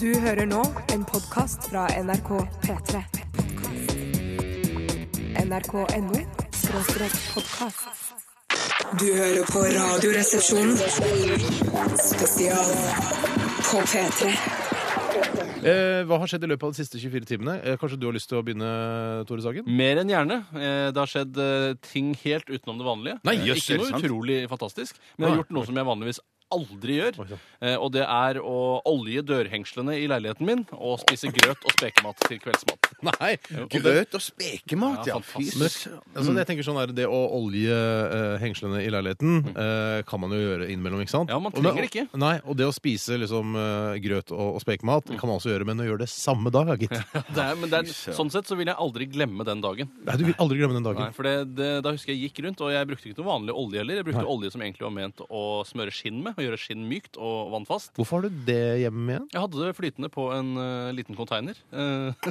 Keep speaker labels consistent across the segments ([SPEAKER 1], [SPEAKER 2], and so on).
[SPEAKER 1] Du hører nå en podkast fra NRK P3. NRK.no skråstrek podkast. Du hører på Radioresepsjonen spesial på P3.
[SPEAKER 2] Eh, hva har skjedd i løpet av de siste 24 timene? Eh, kanskje du har lyst til å begynne, Tore Sagen?
[SPEAKER 3] Mer enn gjerne. Eh, Det har skjedd eh, ting helt utenom det vanlige.
[SPEAKER 2] Nei,
[SPEAKER 3] Eh,
[SPEAKER 2] jøss, er
[SPEAKER 3] Ikke
[SPEAKER 2] det
[SPEAKER 3] noe
[SPEAKER 2] sant?
[SPEAKER 3] utrolig fantastisk, men jeg
[SPEAKER 2] Nei.
[SPEAKER 3] har gjort noe som jeg vanligvis aldri gjør.
[SPEAKER 2] Oi, sant.
[SPEAKER 3] Eh, Og det er å olje dørhengslene i leiligheten min og spise grøt og spekemat til kveldsmat. Eh,
[SPEAKER 2] Nei! Og det,
[SPEAKER 4] Grøt og spekemat, ja.
[SPEAKER 3] Ja,
[SPEAKER 4] Fy
[SPEAKER 3] fantastisk.
[SPEAKER 2] men det, altså, jeg tenker sånn er det å olje eh, hengslene i leiligheten eh, kan man jo gjøre innimellom, ikke sant?
[SPEAKER 3] Mm. Ja, man
[SPEAKER 2] Og det-
[SPEAKER 3] trenger det ikke.
[SPEAKER 2] Nei, og det å spise liksom, eh, grøt og, og spekemat
[SPEAKER 3] Mm.
[SPEAKER 2] kan man også gjøre, men å gjøre det samme dag, ja, gitt.
[SPEAKER 3] Det er, men det er, sånn sett så vil jeg aldri glemme den dagen.
[SPEAKER 2] Nei, du vil aldri glemme den dagen.
[SPEAKER 3] Nei, for det, det, Da husker jeg gikk rundt, og jeg brukte ikke noe vanlig olje heller. Jeg brukte olje som egentlig var ment å smøre skinn med, og gjøre skinn mykt og vannfast.
[SPEAKER 2] Hvorfor har du det hjemme igjen?
[SPEAKER 3] Jeg hadde det flytende på en eh, liten container. Eh,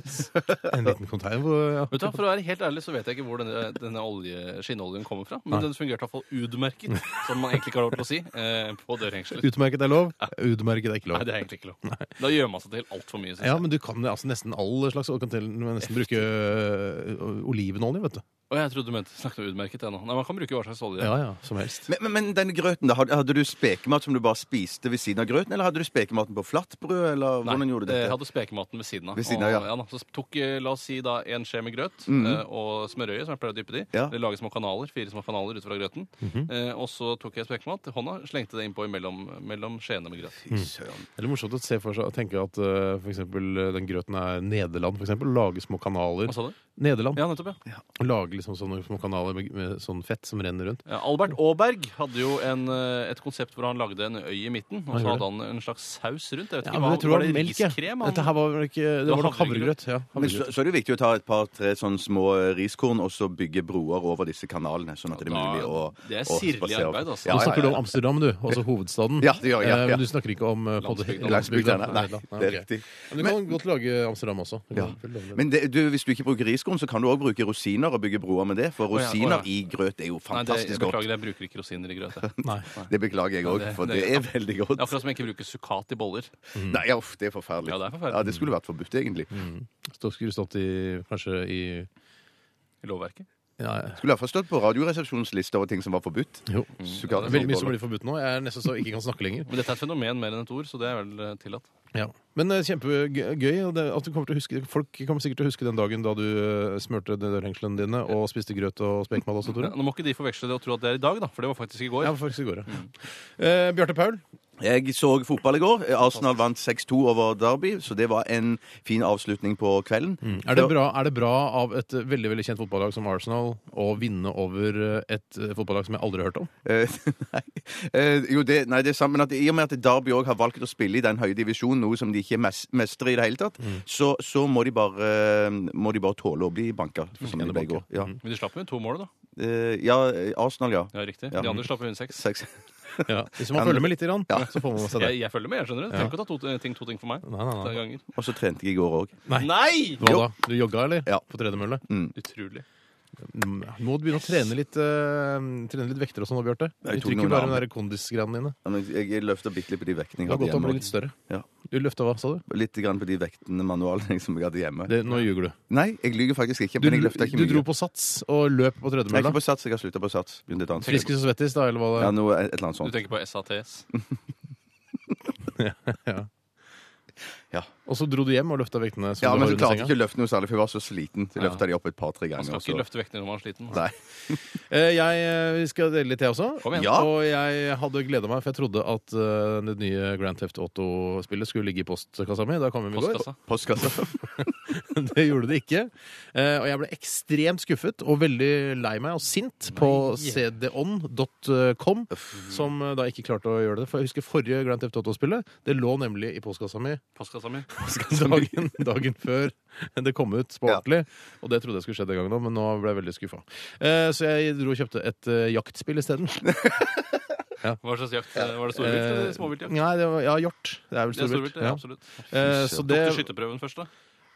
[SPEAKER 2] En liten container? Hvor, ja.
[SPEAKER 3] vet du, hva, for å være helt ærlig så vet jeg ikke hvor denne, denne olje, skinnoljen kommer fra, men
[SPEAKER 2] Nei.
[SPEAKER 3] den fungerte iallfall utmerket, som man egentlig ikke har lov til å si, eh, på dørhengsler.
[SPEAKER 2] Utmerket er lov, utmerket er ikke
[SPEAKER 3] Nei,
[SPEAKER 2] lov.
[SPEAKER 3] det er egentlig ikke lov. Da gjør man seg til altfor mye. synes
[SPEAKER 2] Ja,
[SPEAKER 3] jeg.
[SPEAKER 2] men du kan altså nesten all slags Du kan til og med nesten bruke øh, olivenolje, vet du.
[SPEAKER 3] Og jeg trodde du mente snakket om utmerket, jeg nå. Nei, man kan bruke hva slags olje.
[SPEAKER 2] Ja, ja, som helst.
[SPEAKER 4] Men, men, men den grøten, da, hadde, hadde du spekemat som du bare spiste ved siden av grøten, eller hadde du spekematen på flatbrød, eller hvordan gjorde du
[SPEAKER 2] eh,
[SPEAKER 3] jeg
[SPEAKER 4] dette?
[SPEAKER 3] eh, hadde spekematen ved siden av.
[SPEAKER 4] Ved siden av,
[SPEAKER 3] og,
[SPEAKER 4] ja. Mm.
[SPEAKER 3] da, så tok, eh, la oss si, da, en skje med grøt eh, og smørøye, som jeg pleier å dyppe det i.
[SPEAKER 4] Ja.
[SPEAKER 3] Det lager små kanaler, fire små kanaler ut fra grøten.
[SPEAKER 2] Mhm.
[SPEAKER 3] eh, og så tok jeg spekemat i hånda, slengte det innpå mellom, mellom skjeene med grøt.
[SPEAKER 4] Fy søren.
[SPEAKER 2] Det er morsomt å se for seg å tenke at øh, for eksempel, øh, den grøten er Nederland, for eksempel. Lage små kanaler.
[SPEAKER 3] Hva sa du?
[SPEAKER 2] Nederland.
[SPEAKER 3] Ja, nettopp, ja.
[SPEAKER 2] Lage liksom sånne små kanaler med, med sånn fett som renner rundt.
[SPEAKER 3] ja. Albert Aaberg hadde jo en, eh, et konsept hvor han lagde en øy i midten, og
[SPEAKER 2] Han
[SPEAKER 3] så
[SPEAKER 2] gjorde
[SPEAKER 3] hadde han en slags saus rundt. Jeg vet ikke,
[SPEAKER 2] Ja,
[SPEAKER 3] hva,
[SPEAKER 2] men jeg tror
[SPEAKER 3] var
[SPEAKER 2] det
[SPEAKER 3] det
[SPEAKER 2] var melk, ja.
[SPEAKER 3] riskrem? Han,
[SPEAKER 2] Dette her var vel ikke Det var nok havregrøt. Ja,
[SPEAKER 4] Men så,
[SPEAKER 2] havregrøt.
[SPEAKER 4] så er det jo viktig å ta et par-tre sånn små eh, riskorn og så bygge broer over disse kanalene, sånn at det er
[SPEAKER 3] Da-
[SPEAKER 4] mulig å
[SPEAKER 3] det er
[SPEAKER 4] å
[SPEAKER 3] sirlig
[SPEAKER 4] spasere opp.
[SPEAKER 3] arbeid, altså.
[SPEAKER 2] Nå
[SPEAKER 4] Ja, ja,
[SPEAKER 2] snakker du
[SPEAKER 4] ja.
[SPEAKER 2] om Amsterdam, du. Altså hovedstaden.
[SPEAKER 4] Ja, det gjør jeg, ja,
[SPEAKER 2] Eh,
[SPEAKER 4] ja.
[SPEAKER 2] Men du snakker ikke om eh, på det-
[SPEAKER 3] Landsbygda.
[SPEAKER 4] Landsbygda, nei,
[SPEAKER 2] Nei,
[SPEAKER 4] nei,
[SPEAKER 2] ok.
[SPEAKER 4] det er riktig.
[SPEAKER 2] Men du kan godt lage Amsterdam også. Du kan vel lage det.
[SPEAKER 4] Men det, du, hvis du ikke bruker riskorn, så kan du òg bruke rosiner og bygge broer med det, for
[SPEAKER 3] Å ja, å
[SPEAKER 4] rosiner
[SPEAKER 3] ja.
[SPEAKER 4] i grøt er jo
[SPEAKER 3] Nei, det, jeg
[SPEAKER 4] fantastisk godt.
[SPEAKER 3] beklager, jeg bruker ikke rosiner i grøt. jeg. Det
[SPEAKER 2] Nei.
[SPEAKER 4] Det beklager jeg òg,
[SPEAKER 3] det-
[SPEAKER 4] for
[SPEAKER 3] det-
[SPEAKER 4] det er veldig
[SPEAKER 3] er
[SPEAKER 4] godt. Mm.
[SPEAKER 3] akkurat som jeg ikke bruker sukkat i boller.
[SPEAKER 4] Nei, ja, uff, det er forferdelig.
[SPEAKER 3] Ja, det er forferdelig.
[SPEAKER 4] Ja, det skulle vært forbudt, egentlig.
[SPEAKER 2] Mm. Så skulle du stått i Kanskje i
[SPEAKER 3] I lovverket.
[SPEAKER 2] Nei.
[SPEAKER 4] Skulle iallfall stått på Radioresepsjonens liste over ting som var forbudt. Mm.
[SPEAKER 2] Jo.
[SPEAKER 4] Sukkat-
[SPEAKER 2] Veldig mye som blir forbudt nå. Jeg er nesten så ikke kan snakke lenger.
[SPEAKER 3] Men dette er et fenomen mer enn et ord, så det er vel eh, tillatt.
[SPEAKER 2] Ja. Men eh, kjempegøy og det, at du kommer til å huske Folk kommer sikkert til å huske den dagen da du eh, smurte dørhengslene dine og spiste grøt og spekemat også, Tore.
[SPEAKER 3] Nå må ikke de forveksle det og tro at det er i dag, da, for det var faktisk i går. Mm.
[SPEAKER 2] Ja, faktisk i går, ja. Eh, Bjarte Paul,
[SPEAKER 4] Jeg så fotball i går. Arsenal vant 6-2 over Derby, så det var en fin avslutning på kvelden.
[SPEAKER 2] Mm. er det, bra, er det bra av et eh, veldig veldig kjent fotballag som Arsenal å vinne over eh, et eh, fotballag som jeg aldri har hørt om?
[SPEAKER 4] Eh, nei. Eh, jo, det, nei, det er sant, men at, i og med at Derby òg har valgt å spille i den høye divisjonen, noe som de ikke mes mestrer i det hele tatt,
[SPEAKER 2] Mm.
[SPEAKER 4] så, så må, de bare, eh, må de bare tåle å bli banka.
[SPEAKER 2] Mm.
[SPEAKER 4] Som de ble i går. Ja.
[SPEAKER 3] Men de slapp jo inn to mål, da.
[SPEAKER 4] Eh, ja, Arsenal, ja.
[SPEAKER 3] Ja, riktig.
[SPEAKER 4] Ja.
[SPEAKER 3] De andre slapp jo inn seks.
[SPEAKER 4] Seks.
[SPEAKER 2] Ja. Hvis man følger med litt, grann, så får man med seg det.
[SPEAKER 3] Jeg, jeg følger med, jeg skjønner det. Trenger ikke å ta to eh, ting, to ting for meg.
[SPEAKER 2] Nei, nei,
[SPEAKER 3] Tre
[SPEAKER 2] nei.
[SPEAKER 3] ganger.
[SPEAKER 4] Og så trente jeg i går òg.
[SPEAKER 2] Nei.
[SPEAKER 3] Nei!
[SPEAKER 2] Hva da? Du jogga, eller?
[SPEAKER 4] Ja.
[SPEAKER 2] På tredemølle?
[SPEAKER 3] Utrolig.
[SPEAKER 2] Mm, Må du begynne å trene litt, eh, trene litt vekter og sånn nå, Bjarte. Du
[SPEAKER 4] Jeg tok
[SPEAKER 2] trykker
[SPEAKER 4] noen
[SPEAKER 2] bare med
[SPEAKER 4] armer.
[SPEAKER 2] de der kondisgreiene dine.
[SPEAKER 4] Jeg, jeg løfta bitte litt på de vektene
[SPEAKER 2] Det
[SPEAKER 4] jeg
[SPEAKER 2] er
[SPEAKER 4] hadde
[SPEAKER 2] godt å
[SPEAKER 4] hjemme.
[SPEAKER 2] bli litt større.
[SPEAKER 4] Ja.
[SPEAKER 2] Du løfta hva, sa du?
[SPEAKER 4] Litt grann på de vektene manualene som jeg hadde hjemme.
[SPEAKER 2] Det, nå ljuger du.
[SPEAKER 4] Nei, jeg lyver faktisk ikke.
[SPEAKER 2] Du,
[SPEAKER 4] Men jeg løfta ikke
[SPEAKER 2] du
[SPEAKER 4] mye.
[SPEAKER 2] dro på sats og løp på
[SPEAKER 4] Jeg er
[SPEAKER 2] tredemølla.
[SPEAKER 4] ikke på sats, jeg har slutta på sats. Begynte et annet sted.
[SPEAKER 2] Friskest og svettest, da, eller hva det
[SPEAKER 4] Ja, noe, et eller annet
[SPEAKER 3] Du
[SPEAKER 4] sånt.
[SPEAKER 3] tenker på SATS.
[SPEAKER 2] ja.
[SPEAKER 4] Ja.
[SPEAKER 2] Og så dro du hjem og løfta vektene som
[SPEAKER 4] Ja,
[SPEAKER 2] du
[SPEAKER 4] men
[SPEAKER 2] har
[SPEAKER 4] så
[SPEAKER 2] under
[SPEAKER 4] klarte jeg
[SPEAKER 2] senga.
[SPEAKER 4] ikke å løfte noe særlig, for jeg var så sliten. Så jeg
[SPEAKER 3] Ja.
[SPEAKER 4] løfta de opp et par-tre
[SPEAKER 3] Man
[SPEAKER 4] ganger.
[SPEAKER 3] skal
[SPEAKER 4] og så-
[SPEAKER 3] ikke løfte vekter når man er sliten.
[SPEAKER 4] Nei.
[SPEAKER 2] Eh, Jeg eh, skal dele litt, jeg også.
[SPEAKER 3] Kom igjen.
[SPEAKER 4] Ja.
[SPEAKER 2] Og jeg hadde gleda meg, for jeg trodde at eh, det nye Grand Theft Auto-spillet skulle ligge i postkassa mi. Da kom jeg med i går.
[SPEAKER 3] Postkassa.
[SPEAKER 4] Postkassa.
[SPEAKER 2] Det gjorde det ikke. Eh, og jeg ble ekstremt skuffet og veldig lei meg og sint på cdon.com, som eh, da ikke klarte å gjøre det. For jeg husker forrige Grand Theft Auto-spillet. Det lå nemlig i postkassa mi
[SPEAKER 3] Postkassa mi.
[SPEAKER 2] dagen, dagen før det kom ut på
[SPEAKER 4] Ja.
[SPEAKER 2] ordentlig. Og det trodde jeg skulle skje den gangen òg, men nå ble jeg veldig skuffa. Eh, så jeg dro og kjøpte et eh, jaktspill isteden.
[SPEAKER 3] Hva slags jakt? eh, Var det storvilt eller
[SPEAKER 2] Eh,
[SPEAKER 3] småviltjakt?
[SPEAKER 2] nei, det var, ja, hjort. Det er vel
[SPEAKER 3] Det er storvilt,
[SPEAKER 2] storvilt.
[SPEAKER 3] ja,
[SPEAKER 2] Ja.
[SPEAKER 3] absolutt.
[SPEAKER 2] Eh, så det
[SPEAKER 3] Tok du skytterprøven først, da?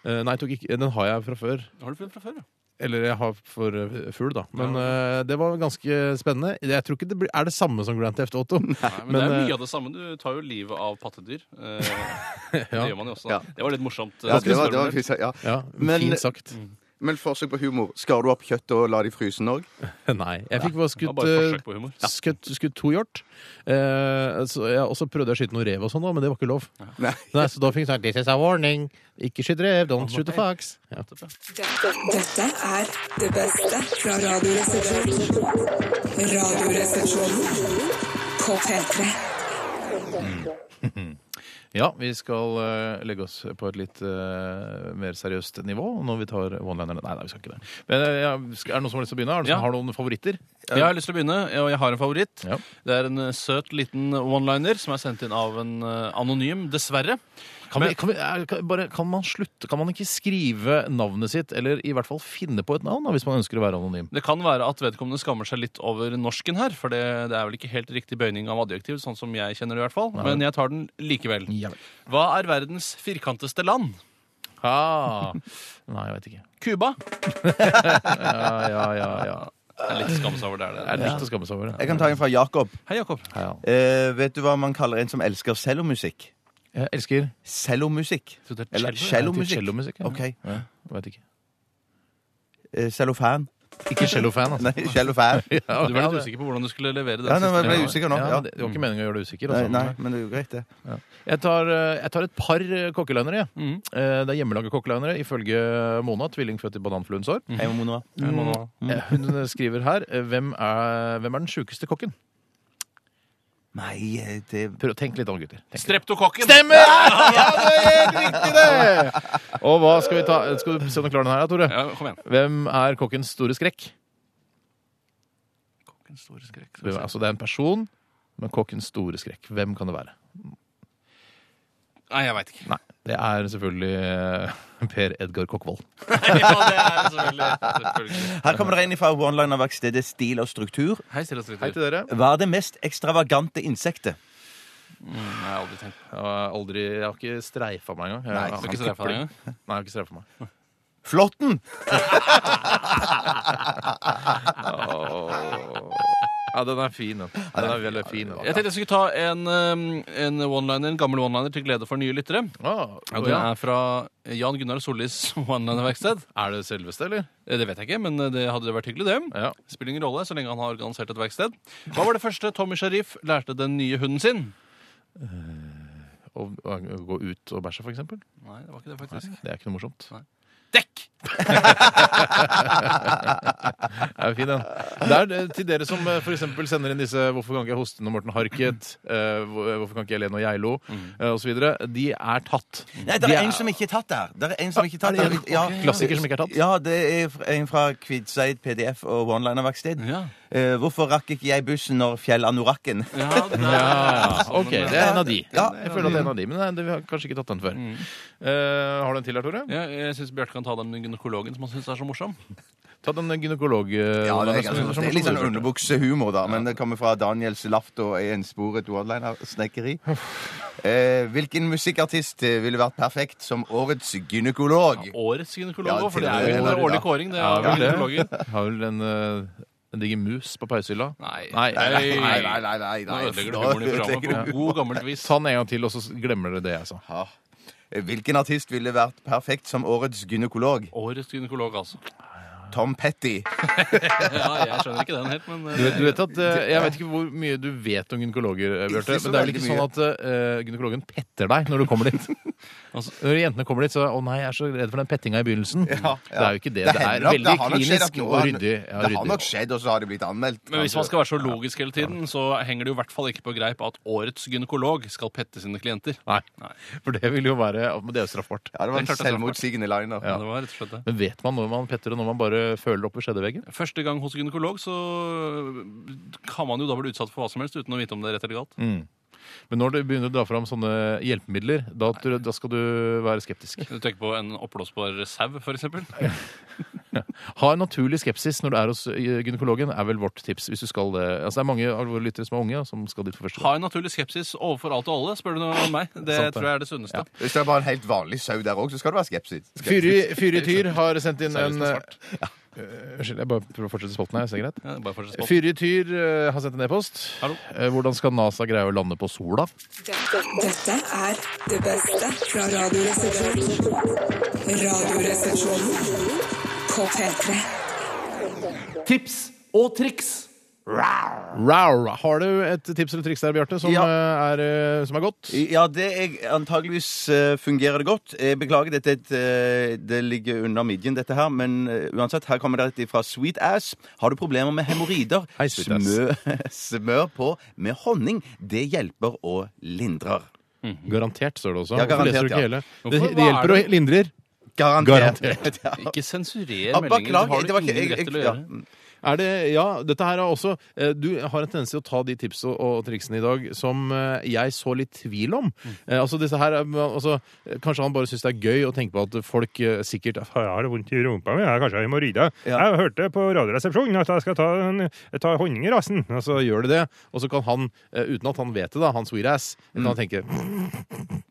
[SPEAKER 2] eh, Nei, tok ikke, den har jeg fra før.
[SPEAKER 3] Har du prøvd fra før, ja?
[SPEAKER 5] Eller jeg har for eh, fugl, da. Men eh, det var ganske spennende. Jeg tror ikke det blir, er det samme som Grand Theft Auto.
[SPEAKER 3] Nei, men,
[SPEAKER 5] Men,
[SPEAKER 3] det er
[SPEAKER 5] eh,
[SPEAKER 3] mye av det samme. Du tar jo livet av pattedyr. Eh, Det gjør man jo også.
[SPEAKER 4] Ja.
[SPEAKER 3] da. Det var litt morsomt. eh,
[SPEAKER 4] Ja, det var, det var,
[SPEAKER 3] Spørsmål.
[SPEAKER 4] fint sagt, ja.
[SPEAKER 5] Ja,
[SPEAKER 4] Men-
[SPEAKER 5] Fint sagt.
[SPEAKER 3] Mm.
[SPEAKER 4] Men forsøk på humor. Skar du opp kjøttet og la det i frysen òg?
[SPEAKER 5] Nei. Jeg fikk bare
[SPEAKER 3] Det var
[SPEAKER 5] skutt
[SPEAKER 3] bare et
[SPEAKER 5] eh,
[SPEAKER 3] forsøk på humor.
[SPEAKER 5] skutt, skutt to hjort. Eh, så jeg, og så prøvde jeg å skyte noe rev og sånn, da, men det var ikke lov.
[SPEAKER 4] Nei.
[SPEAKER 5] Nei, så da fikk jeg sagt This is a warning. Ikke skyt rev. Don't shoot a fox. Ja.
[SPEAKER 1] Dette er det beste fra Radioresepsjonen. Radioresepsjonen på P3.
[SPEAKER 2] Ja, vi skal eh, legge oss på et litt eh, mer seriøst nivå når vi tar one-linerne. Nei, nei, vi skal ikke det. Men, eh, ja, skal, er det noen som har lyst til å begynne? Er det noen
[SPEAKER 3] Ja.
[SPEAKER 2] som har noen favoritter?
[SPEAKER 3] Ja, Jeg har lyst til å begynne, og jeg har en favoritt.
[SPEAKER 2] Ja.
[SPEAKER 3] Det er en eh, søt liten one-liner som er sendt inn av en eh, anonym, dessverre.
[SPEAKER 2] Kan,
[SPEAKER 3] Men-
[SPEAKER 2] vi, kan, vi, er, kan, bare, kan man slutte? Kan man ikke skrive navnet sitt, eller i hvert fall finne på et navn, da, hvis man ønsker å være anonym?
[SPEAKER 3] Det kan være at vedkommende skammer seg litt over norsken her, for det, det er vel ikke helt riktig bøyning av adjektiv, sånn som jeg kjenner det i hvert fall. Men jeg tar den likevel. Hva er verdens firkanteste land?
[SPEAKER 2] Ah. Nei, jeg vet ikke.
[SPEAKER 3] Cuba.
[SPEAKER 2] Ja, ja, ja. ja.
[SPEAKER 3] Det er Litt skamme seg over der.
[SPEAKER 2] Det er
[SPEAKER 3] det.
[SPEAKER 2] litt å skamme seg over. det.
[SPEAKER 4] Jeg kan ta en fra Jakob.
[SPEAKER 3] Hei, Jakob.
[SPEAKER 2] Ja, ja.
[SPEAKER 4] Eh, vet du hva man kaller en som elsker cellomusikk?
[SPEAKER 2] Jeg elsker
[SPEAKER 4] Cellomusikk.
[SPEAKER 3] Jeg trodde det er
[SPEAKER 4] Eller
[SPEAKER 3] cello,
[SPEAKER 4] cellomusikk.
[SPEAKER 2] cellomusikk. ja.
[SPEAKER 4] Ok.
[SPEAKER 2] Ja, jeg vet ikke.
[SPEAKER 4] Eh, Cellofan.
[SPEAKER 2] Ikke cellofan, altså.
[SPEAKER 4] Nei, cellofan.
[SPEAKER 2] Ja,
[SPEAKER 3] Du var
[SPEAKER 2] ja,
[SPEAKER 3] litt usikker på hvordan du skulle levere den
[SPEAKER 4] Ja, nei, men
[SPEAKER 3] siste.
[SPEAKER 4] jeg ble usikker nå.
[SPEAKER 2] Ja,
[SPEAKER 4] Ja.
[SPEAKER 2] det, det var ikke meningen å gjøre deg usikker.
[SPEAKER 4] Nei,
[SPEAKER 2] Altså.
[SPEAKER 4] nei, men det er jo greit, det.
[SPEAKER 2] Jeg, tar, eh, jeg tar et par eh, kokkelinere. jeg.
[SPEAKER 4] Mm.
[SPEAKER 3] Mhm.
[SPEAKER 2] Eh, Det er hjemmelaga kokkelinere, ifølge Mona, tvilling født i bananfluens år.
[SPEAKER 4] Mm. Hei, Mona. Mm.
[SPEAKER 2] Eh, Hun skriver her eh, hvem er, hvem er den sjukeste kokken?
[SPEAKER 4] Nei, eh, det
[SPEAKER 2] Prøv å tenke litt om, gutter. Tenk.
[SPEAKER 3] Streptokokken.
[SPEAKER 2] Stemmer! Ja, det er helt riktig, det! Og hva skal vi ta? Skal du se om du klarer den her, Tore?
[SPEAKER 3] Ja, kom igjen.
[SPEAKER 2] Hvem er kokkens store skrekk?
[SPEAKER 3] Kokkens store skrekk. skal vi se.
[SPEAKER 2] Altså, det er en person, men kokkens store skrekk. Hvem kan det være?
[SPEAKER 3] Nei, jeg veit ikke.
[SPEAKER 2] Nei, det er selvfølgelig eh, Per Edgar Kokkvold.
[SPEAKER 3] Ja, det er det selvfølgelig. selvfølgelig.
[SPEAKER 4] Her kommer det inn fra one-liner-verkstedet Stil og struktur.
[SPEAKER 3] Hei, Stille og Stritter.
[SPEAKER 2] Hei til dere.
[SPEAKER 4] Hva er det mest ekstravagante insektet?
[SPEAKER 3] Nei, Mm, jeg har aldri tenkt på det.
[SPEAKER 2] Jeg har aldri, jeg har ikke streifa meg engang. Jeg,
[SPEAKER 4] Nei,
[SPEAKER 3] Skal
[SPEAKER 2] jeg har
[SPEAKER 3] ikke
[SPEAKER 2] ikke
[SPEAKER 3] se deg for
[SPEAKER 2] kopling.
[SPEAKER 3] deg engang.
[SPEAKER 2] Nei, jeg har ikke streifa meg.
[SPEAKER 4] Flåtten!
[SPEAKER 2] Ja, den er fin, den. Den er veldig fin.
[SPEAKER 3] Jeg tenkte jeg skulle ta en, um, en, one-liner, en gammel one-liner til glede for nye lyttere.
[SPEAKER 2] Ah,
[SPEAKER 3] Og
[SPEAKER 2] å
[SPEAKER 3] det
[SPEAKER 2] ja.
[SPEAKER 3] er fra Jan Gunnar Sollis one-liner-verksted.
[SPEAKER 2] Er det selveste, eller?
[SPEAKER 3] Eh, Det vet jeg ikke, men det hadde det vært hyggelig, det.
[SPEAKER 2] Ja.
[SPEAKER 3] Spiller ingen rolle så lenge han har organisert et verksted. Hva var det første Tommy Sharif lærte den nye hunden sin?
[SPEAKER 2] Å, å gå ut og bæsje, for eksempel.
[SPEAKER 3] Nei, det var ikke det, faktisk.
[SPEAKER 2] Det er ikke noe morsomt.
[SPEAKER 3] Dekk!
[SPEAKER 2] Det er fin, den. Det er det- til dere som eh, for eksempel sender inn disse 'Hvorfor kan ikke jeg hoste når Morten Harket', eh, hvor- 'Hvorfor kan ikke jeg le når jeg lo', eh, og så videre De er tatt.
[SPEAKER 4] Nei, det
[SPEAKER 2] De
[SPEAKER 4] er en som ikke er tatt der. Det er en som ikke er tatt
[SPEAKER 2] er
[SPEAKER 4] der.
[SPEAKER 2] det en klassiker som ikke er tatt?
[SPEAKER 4] Ja, det er fra- en fra Kvitseid PDF og one-liner-verksted.
[SPEAKER 3] Ja.
[SPEAKER 4] Eh, hvorfor rakk ikke jeg bussen når fjellanorakken?
[SPEAKER 3] Ja, det der.
[SPEAKER 2] Ja, OK.
[SPEAKER 3] Sånn,
[SPEAKER 2] Det er en av de.
[SPEAKER 4] Ja.
[SPEAKER 2] Jeg føler at det er en av de, men nei, vi har kanskje ikke tatt den før.
[SPEAKER 3] Mm.
[SPEAKER 2] Eh, har du en til her, Tore?
[SPEAKER 3] Ja, jeg syns Bjarte kan ta den gynekologen som han syns er så morsom.
[SPEAKER 2] Ta den gynekolog... eh,
[SPEAKER 4] Ja, det er,
[SPEAKER 2] som-
[SPEAKER 4] ganske-
[SPEAKER 2] som-
[SPEAKER 4] det er litt sånn
[SPEAKER 2] som-
[SPEAKER 4] underbuksehumor, da. Men det kommer fra Daniels Lafto i ensporet one-liner-snekkeri. Eh, hvilken musikkartist eh, ville vært perfekt som årets gynekolog?
[SPEAKER 3] Årets gynekolog
[SPEAKER 4] Ja,
[SPEAKER 3] òg, for det
[SPEAKER 4] til
[SPEAKER 3] er jo
[SPEAKER 4] og
[SPEAKER 3] en
[SPEAKER 4] med
[SPEAKER 3] årlig
[SPEAKER 4] da.
[SPEAKER 3] kåring. det
[SPEAKER 2] Ja,
[SPEAKER 3] er
[SPEAKER 2] vel det.
[SPEAKER 3] gynekologen.
[SPEAKER 2] Har vel en, eh, en diger mus på peishylla?
[SPEAKER 3] Nei.
[SPEAKER 2] Nei, nei,
[SPEAKER 4] Nei, nei, nei. nei,
[SPEAKER 3] Nå
[SPEAKER 4] nei.
[SPEAKER 3] ødelegger du humoren i programmet på god gammelt vis.
[SPEAKER 2] Ta den en gang til, og så glemmer dere det altså. jeg sa.
[SPEAKER 4] Ja. Hvilken artist ville vært perfekt som årets gynekolog?
[SPEAKER 3] Årets gynekolog, altså.
[SPEAKER 4] Tom Petty.
[SPEAKER 3] Ja, jeg skjønner ikke den helt, men eh,
[SPEAKER 2] Du vet, du vet at, eh, jeg vet ikke hvor mye du vet om gynekologer, eh,
[SPEAKER 4] Ikke
[SPEAKER 2] Bjarte.
[SPEAKER 4] så
[SPEAKER 2] Men det er vel ikke
[SPEAKER 4] veldig
[SPEAKER 2] sånn at eh, gynekologen petter deg når du kommer dit. Altså, når jentene kommer dit, så 'Å nei, jeg er så redd for den pettinga i begynnelsen'.
[SPEAKER 4] Ja,
[SPEAKER 2] Det er jo ikke det. Det,
[SPEAKER 4] hender
[SPEAKER 2] er
[SPEAKER 4] nok-
[SPEAKER 2] veldig
[SPEAKER 4] har nok skjedd at
[SPEAKER 2] klinisk
[SPEAKER 4] noe
[SPEAKER 2] og
[SPEAKER 4] har-
[SPEAKER 2] ryddig. Ja,
[SPEAKER 4] det har
[SPEAKER 2] ryddig.
[SPEAKER 4] nok skjedd, og så har det blitt anmeldt.
[SPEAKER 3] Men hvis man skal være så logisk hele tiden, så henger det jo i hvert fall ikke på greip at årets gynekolog skal pette sine klienter.
[SPEAKER 2] Nei.
[SPEAKER 3] Nei.
[SPEAKER 2] For det vil jo være Det er jo straffbart.
[SPEAKER 4] Ja, det var en
[SPEAKER 3] Det er klart det er
[SPEAKER 4] selvmotsigende liner.
[SPEAKER 3] Ja. Det var rett og slett det.
[SPEAKER 2] Men vet man når man petter, og når man bare føler opp i skjeddeveggen?
[SPEAKER 3] Første gang hos gynekolog så kan man jo da bli utsatt for hva som helst uten å vite om det er rett eller galt.
[SPEAKER 2] Mm. Men når du begynner å dra fram sånne hjelpemidler, da, tror jeg- da skal du være skeptisk.
[SPEAKER 3] Du tenker på en oppblåsbar sau, for eksempel.
[SPEAKER 2] Ha en naturlig skepsis når du er hos eh, gynekologen, er vel vårt tips. hvis du skal det. Altså, det er mange av våre lyttere som er unge, og som skal dit for første gang.
[SPEAKER 3] Ha en naturlig skepsis overfor alt og alle, spør du noe om meg. Det
[SPEAKER 2] Sant det.
[SPEAKER 3] tror jeg er det sunneste.
[SPEAKER 4] Hvis det er bare en helt vanlig sau der òg, så skal det være skepsis.
[SPEAKER 2] Fyri, Fyri Tyr har sendt inn en
[SPEAKER 3] Seriøst, det er
[SPEAKER 2] eh, Eh, Unnskyld, jeg bare prøver å fortsette spalten her. Er det greit?
[SPEAKER 3] Ja, bare fortsett på.
[SPEAKER 2] Fyrig Tyr eh, har sendt en e-post.
[SPEAKER 3] Hallo.
[SPEAKER 2] Eh, Hvordan skal NASA greie å lande på sola?
[SPEAKER 1] Dette er det beste fra Radioresepsjonen. Radioresepsjonen på P3.
[SPEAKER 6] Tips og triks.
[SPEAKER 2] Rar. Har du et tips eller triks der, Bjarte, som,
[SPEAKER 4] Ja.
[SPEAKER 2] eh, er, eh, som er godt?
[SPEAKER 4] Ja, det er antageligvis eh, fungerer det godt. Jeg beklager, dette, er et, eh, det ligger under midjen, dette her. Men eh, uansett, her kommer det et fra Sweet Ass. Har du problemer med hemoroider,
[SPEAKER 2] Hei, Sweet Ass.
[SPEAKER 4] smør, smør på med honning. Det hjelper og lindrer.
[SPEAKER 2] Mhm. Garantert, står det også.
[SPEAKER 4] Ja,
[SPEAKER 2] Hvorfor leser
[SPEAKER 4] garantert,
[SPEAKER 2] du ikke
[SPEAKER 4] ja.
[SPEAKER 2] hele? Det,
[SPEAKER 3] Hvorfor?
[SPEAKER 2] det
[SPEAKER 3] Hva er
[SPEAKER 2] hjelper og lindrer.
[SPEAKER 4] Garantert.
[SPEAKER 2] Garantert.
[SPEAKER 4] Ja.
[SPEAKER 3] Ikke sensurer
[SPEAKER 4] Ja,
[SPEAKER 3] meldingen. Det
[SPEAKER 4] Beklager,
[SPEAKER 3] har
[SPEAKER 4] det
[SPEAKER 3] du
[SPEAKER 4] var ikke jeg.
[SPEAKER 3] ingen rett til å
[SPEAKER 4] jeg ja.
[SPEAKER 3] gjøre.
[SPEAKER 2] Er det, ja, dette her er også eh, Du har en tendens til å ta de tipsene og, og triksene i dag som eh, jeg så litt tvil om. Eh, altså disse her, er- altså, eh, Kanskje han bare syns det er gøy å tenke på at folk eh, sikkert
[SPEAKER 7] Jeg har vondt i rumpa mi, jeg har kanskje hemoroider. Jeg hørte på Radioresepsjonen at jeg skal ta, en, ta honning i rassen.
[SPEAKER 2] Og så gjør de det, og så kan han, eh, uten at han vet det, da, han sweet-ass,
[SPEAKER 7] Mm.
[SPEAKER 2] kan han tenke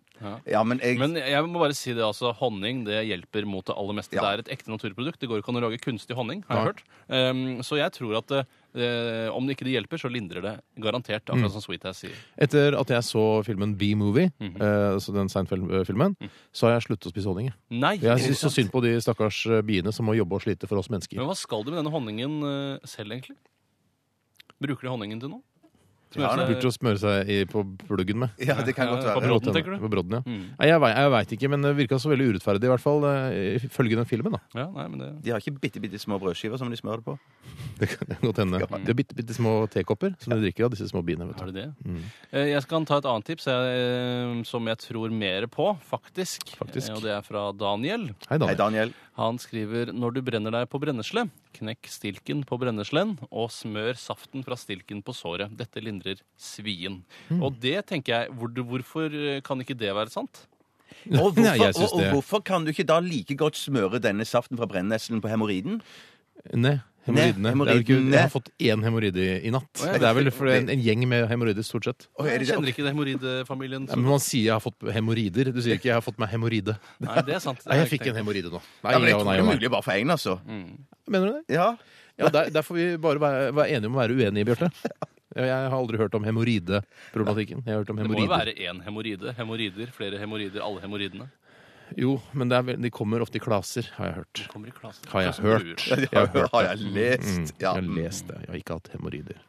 [SPEAKER 4] ja, men jeg
[SPEAKER 3] Men jeg må bare si det, altså, honning det hjelper mot det aller meste.
[SPEAKER 4] Ja.
[SPEAKER 3] Det er et ekte naturprodukt. Det går ikke an å lage kunstig honning, har jeg hørt. Ehm, så jeg tror at eh, om det ikke det hjelper, så lindrer det garantert,
[SPEAKER 4] Mm.
[SPEAKER 3] akkurat som Sweetass sier.
[SPEAKER 2] Etter at jeg så filmen B-movie,
[SPEAKER 3] Mhm.
[SPEAKER 2] eh, altså den Seinfeld-filmen, så har jeg sluttet å spise honning. jeg.
[SPEAKER 3] Nei!
[SPEAKER 2] Jeg syns så synd på de stakkars eh, biene som må jobbe og slite for oss mennesker.
[SPEAKER 3] Men hva skal de med denne honningen eh, selv, egentlig? Bruker de honningen til noe?
[SPEAKER 2] Ja, de burde jo smøre seg i, på pluggen med.
[SPEAKER 4] Ja, det kan godt
[SPEAKER 3] Ja,
[SPEAKER 4] være.
[SPEAKER 3] på brodden,
[SPEAKER 2] Godt
[SPEAKER 3] tenker
[SPEAKER 2] hende.
[SPEAKER 3] du?
[SPEAKER 2] På brodden, ja.
[SPEAKER 3] Mm.
[SPEAKER 2] Nei, jeg, vei- jeg veit ikke, men det virka så veldig urettferdig, i hvert fall eh, ifølge den filmen. da.
[SPEAKER 3] Ja, nei, men det...
[SPEAKER 4] De har ikke bitte, bitte små brødskiver som de smører det på.
[SPEAKER 2] Det kan godt hende. De har bitte, bitte små tekopper som de drikker av, disse små biene. vet
[SPEAKER 3] Har
[SPEAKER 2] du.
[SPEAKER 3] du det? Eh, Jeg skal ta et annet tips eh, som jeg tror mer på, faktisk.
[SPEAKER 2] Faktisk.
[SPEAKER 3] Eh, Og det er fra Daniel.
[SPEAKER 4] Hei,
[SPEAKER 2] Hei, Daniel.
[SPEAKER 4] Daniel.
[SPEAKER 3] Han skriver når du brenner deg på brennesle, knekk stilken på brenneslen og smør saften fra stilken på såret. Dette lindrer svien.
[SPEAKER 2] Mm.
[SPEAKER 3] Og det tenker jeg, hvor, hvorfor eh, kan ikke det være sant?
[SPEAKER 4] Og hvorfor,
[SPEAKER 2] Nei, jeg syns
[SPEAKER 4] og, og
[SPEAKER 2] det.
[SPEAKER 4] hvorfor kan du ikke da like godt smøre denne saften fra brenneslen på hemoroiden?
[SPEAKER 2] Nei, hemoroidene.
[SPEAKER 4] Nei,
[SPEAKER 2] Det er vel ikke-
[SPEAKER 4] hemoroidene.
[SPEAKER 2] Jeg har fått én hemoroide i, i natt.
[SPEAKER 3] Å, ja.
[SPEAKER 2] Det er vel for en, en gjeng med hemoroider, stort sett.
[SPEAKER 4] Å, er
[SPEAKER 3] Jeg
[SPEAKER 4] det-
[SPEAKER 3] kjenner ikke eh, det hemoroidefamilien.
[SPEAKER 2] Ja, men man sier jeg har fått hemoroider. Du sier ikke jeg har fått meg hemoroide.
[SPEAKER 3] Nei, det er sant. Det
[SPEAKER 2] Nei,
[SPEAKER 3] har
[SPEAKER 2] jeg fikk
[SPEAKER 3] ikke
[SPEAKER 2] en
[SPEAKER 3] tenkt
[SPEAKER 2] hemoroide nå.
[SPEAKER 4] Ja, men jeg
[SPEAKER 2] ja,
[SPEAKER 4] tror det er mulig bare for én, altså.
[SPEAKER 3] Mm.
[SPEAKER 2] ja. Mener du det?
[SPEAKER 4] Ja.
[SPEAKER 2] Ja, der, der får vi bare være, være enige om å være uenige, Bjarte. Jeg har aldri hørt om hemoroideproblematikken. Jeg har hørt om
[SPEAKER 3] på. Det må jo
[SPEAKER 2] hemoroider.
[SPEAKER 3] være én hemoroide. Hemoroider, flere hemoroider, alle hemoroidene.
[SPEAKER 2] Jo, men det er, vel- de kommer ofte i klaser, har jeg hørt.
[SPEAKER 3] Kommer i klasen.
[SPEAKER 2] Har jeg
[SPEAKER 3] Klasen bluer.
[SPEAKER 2] hørt. Jeg har, hørt
[SPEAKER 4] har
[SPEAKER 2] det.
[SPEAKER 4] jeg
[SPEAKER 2] Mm.
[SPEAKER 4] lest. Ja.
[SPEAKER 2] Jeg har lest det. Jeg har ikke hatt hemoroider.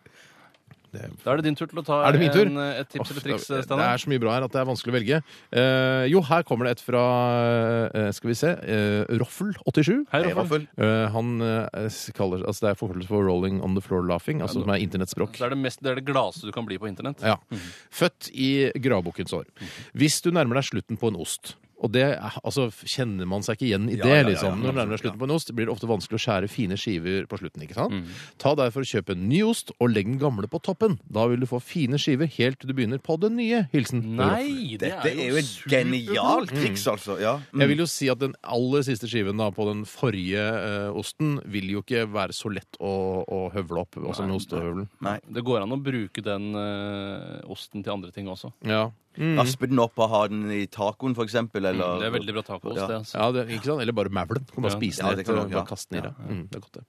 [SPEAKER 3] Da er det din tur til å ta
[SPEAKER 2] Er det min tur?
[SPEAKER 3] En, eh, et tips eller triks,
[SPEAKER 2] Uff, det- Det
[SPEAKER 3] Steinar.
[SPEAKER 2] er så mye bra her at det er vanskelig å velge. Eh, jo, her kommer det et fra eh, Skal vi se eh, Roffel87.
[SPEAKER 3] Hei,
[SPEAKER 4] Hei, Raffel.
[SPEAKER 3] Raffel.
[SPEAKER 2] Eh, han eh, s- kaller altså Det er forkortelse for 'rolling on the floor laughing', altså som er internettspråk.
[SPEAKER 3] Det er det, mest, det er det gladeste du kan bli på internett.
[SPEAKER 2] Ja.
[SPEAKER 4] Mhm.
[SPEAKER 2] Født i gravbukkens år. Hvis du nærmer deg slutten på en ost og det, er- altså, Kjenner man seg ikke igjen i det? liksom. Når du nærmer deg slutten på en ost, blir det ofte vanskelig å skjære fine skiver på slutten. ikke sant?
[SPEAKER 4] Mhm.
[SPEAKER 2] Ta derfor og Kjøp en ny ost og legg den gamle på toppen. Da vil du få fine skiver helt til du begynner på den nye. Hilsen
[SPEAKER 3] Nei, det
[SPEAKER 4] Dette er jo et
[SPEAKER 3] superbra.
[SPEAKER 4] genialt triks, altså. Ja. Mm.
[SPEAKER 2] Jeg vil jo si at den aller siste skiven da, på den forrige eh, osten vil jo ikke være så lett å, å høvle opp, også med ostehøvelen.
[SPEAKER 4] Nei.
[SPEAKER 3] Det går an å bruke den eh, osten til andre ting også.
[SPEAKER 2] Ja. Mm.
[SPEAKER 4] Raspe den opp og ha den i tacoen, for eksempel. Eller...
[SPEAKER 3] Mm, Det er veldig bra tacoost,
[SPEAKER 4] Ja.
[SPEAKER 3] det. Altså.
[SPEAKER 2] ja det, ikke sant? Eller bare mævlen. Du Kan bare
[SPEAKER 3] Ja.
[SPEAKER 2] spise
[SPEAKER 4] Ja, det
[SPEAKER 2] den rett
[SPEAKER 4] kan
[SPEAKER 2] og
[SPEAKER 4] man, ja.
[SPEAKER 2] bare kaste den i deg. Mm, det er godt, det.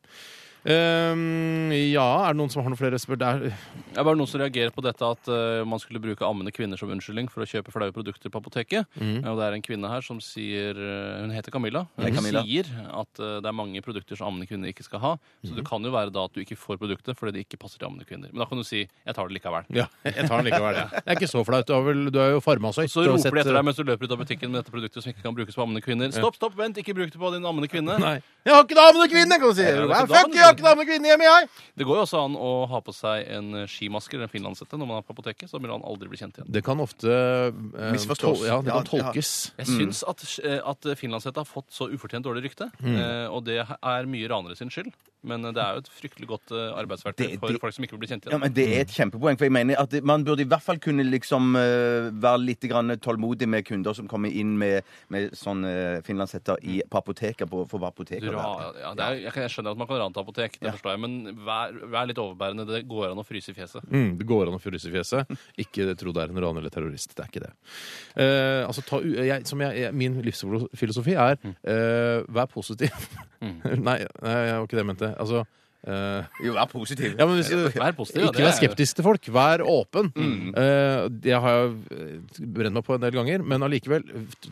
[SPEAKER 2] Ehm, ja, er det noen som har noen flere spør... Det er,
[SPEAKER 3] Det er bare noen som reagerer på dette at eh, man skulle bruke ammende kvinner som unnskyldning for å kjøpe flaue produkter på apoteket.
[SPEAKER 2] Mm.
[SPEAKER 3] Og det er en kvinne her som sier eh, Hun heter Camilla. Hun
[SPEAKER 4] Hei, Camilla.
[SPEAKER 3] sier at eh, det er mange produkter som ammende kvinner ikke skal ha. Så
[SPEAKER 2] Mm.
[SPEAKER 3] det kan jo være da at du ikke får produktet fordi det ikke passer til ammende kvinner. Men da kan du si 'jeg tar det likevel'.
[SPEAKER 2] ja, jeg tar den likevel. jeg. Det er ikke så flaut. Du, har vel, du er jo farmasøyt.
[SPEAKER 3] Så
[SPEAKER 2] Du har
[SPEAKER 3] roper
[SPEAKER 2] sett,
[SPEAKER 3] de etter
[SPEAKER 2] eh,
[SPEAKER 3] deg mens du løper ut av butikken med dette produktet som ikke kan brukes på ammende kvinner. Stopp, stopp, vent, ikke bruk det på din ammende kvinne.
[SPEAKER 2] Nei. Jeg har ikke damene og kvinnene, kan du si!
[SPEAKER 3] Ja, det er ikke
[SPEAKER 2] Fuck,
[SPEAKER 3] damene,
[SPEAKER 2] jeg har ikke damene og kvinnene hjemme, jeg!
[SPEAKER 3] Det går jo også an å ha på seg en eh, skimaske eller en finlandshette når man er på apoteket. så vil han aldri bli kjent igjen.
[SPEAKER 2] Det kan ofte eh,
[SPEAKER 4] Misforstås.
[SPEAKER 2] tol- Ja, det
[SPEAKER 4] Ja,
[SPEAKER 2] kan
[SPEAKER 4] ja.
[SPEAKER 2] tolkes.
[SPEAKER 3] Jeg
[SPEAKER 4] Mm.
[SPEAKER 3] syns
[SPEAKER 4] Mm.
[SPEAKER 3] at, eh, at finlandshette har fått så ufortjent dårlig rykte, eh, og det er mye ranere sin skyld. Men eh, det er jo et fryktelig godt eh, arbeidsverktøy
[SPEAKER 4] Det-
[SPEAKER 3] for
[SPEAKER 4] det-
[SPEAKER 3] folk som ikke vil bli kjent
[SPEAKER 4] Ja,
[SPEAKER 3] igjen. Mm.
[SPEAKER 4] men Det er et kjempepoeng. for jeg mener at det- Man burde i hvert fall kunne liksom eh, være litt grann tålmodig med kunder som kommer inn med, med sånn uh, finlandshetter i, på apoteket. På, for apoteket.
[SPEAKER 3] Mm. Dra, ja, det er, jeg, kan- jeg skjønner at man kan rane til apotek, det forstår jeg, men vær, vær litt overbærende. Det går an å fryse i fjeset.
[SPEAKER 2] Mm, det går an å fryse i fjeset. Ikke tro det er en raner eller terrorist. Det er ikke det. Eh, altså, ta, u- jeg, som jeg, jeg, min livsfilosofi er eh, vær positiv. nei, nei, det var ikke det jeg mente. Altså eh,
[SPEAKER 4] Jo, vær positiv.
[SPEAKER 2] ja, men hvis, du-
[SPEAKER 3] Vær positiv. ja,
[SPEAKER 2] ikke
[SPEAKER 3] det
[SPEAKER 2] vær
[SPEAKER 3] er- Mm.
[SPEAKER 2] skeptisk til folk. Vær åpen. Eh, det har jeg eh, brent meg på en del ganger, men allikevel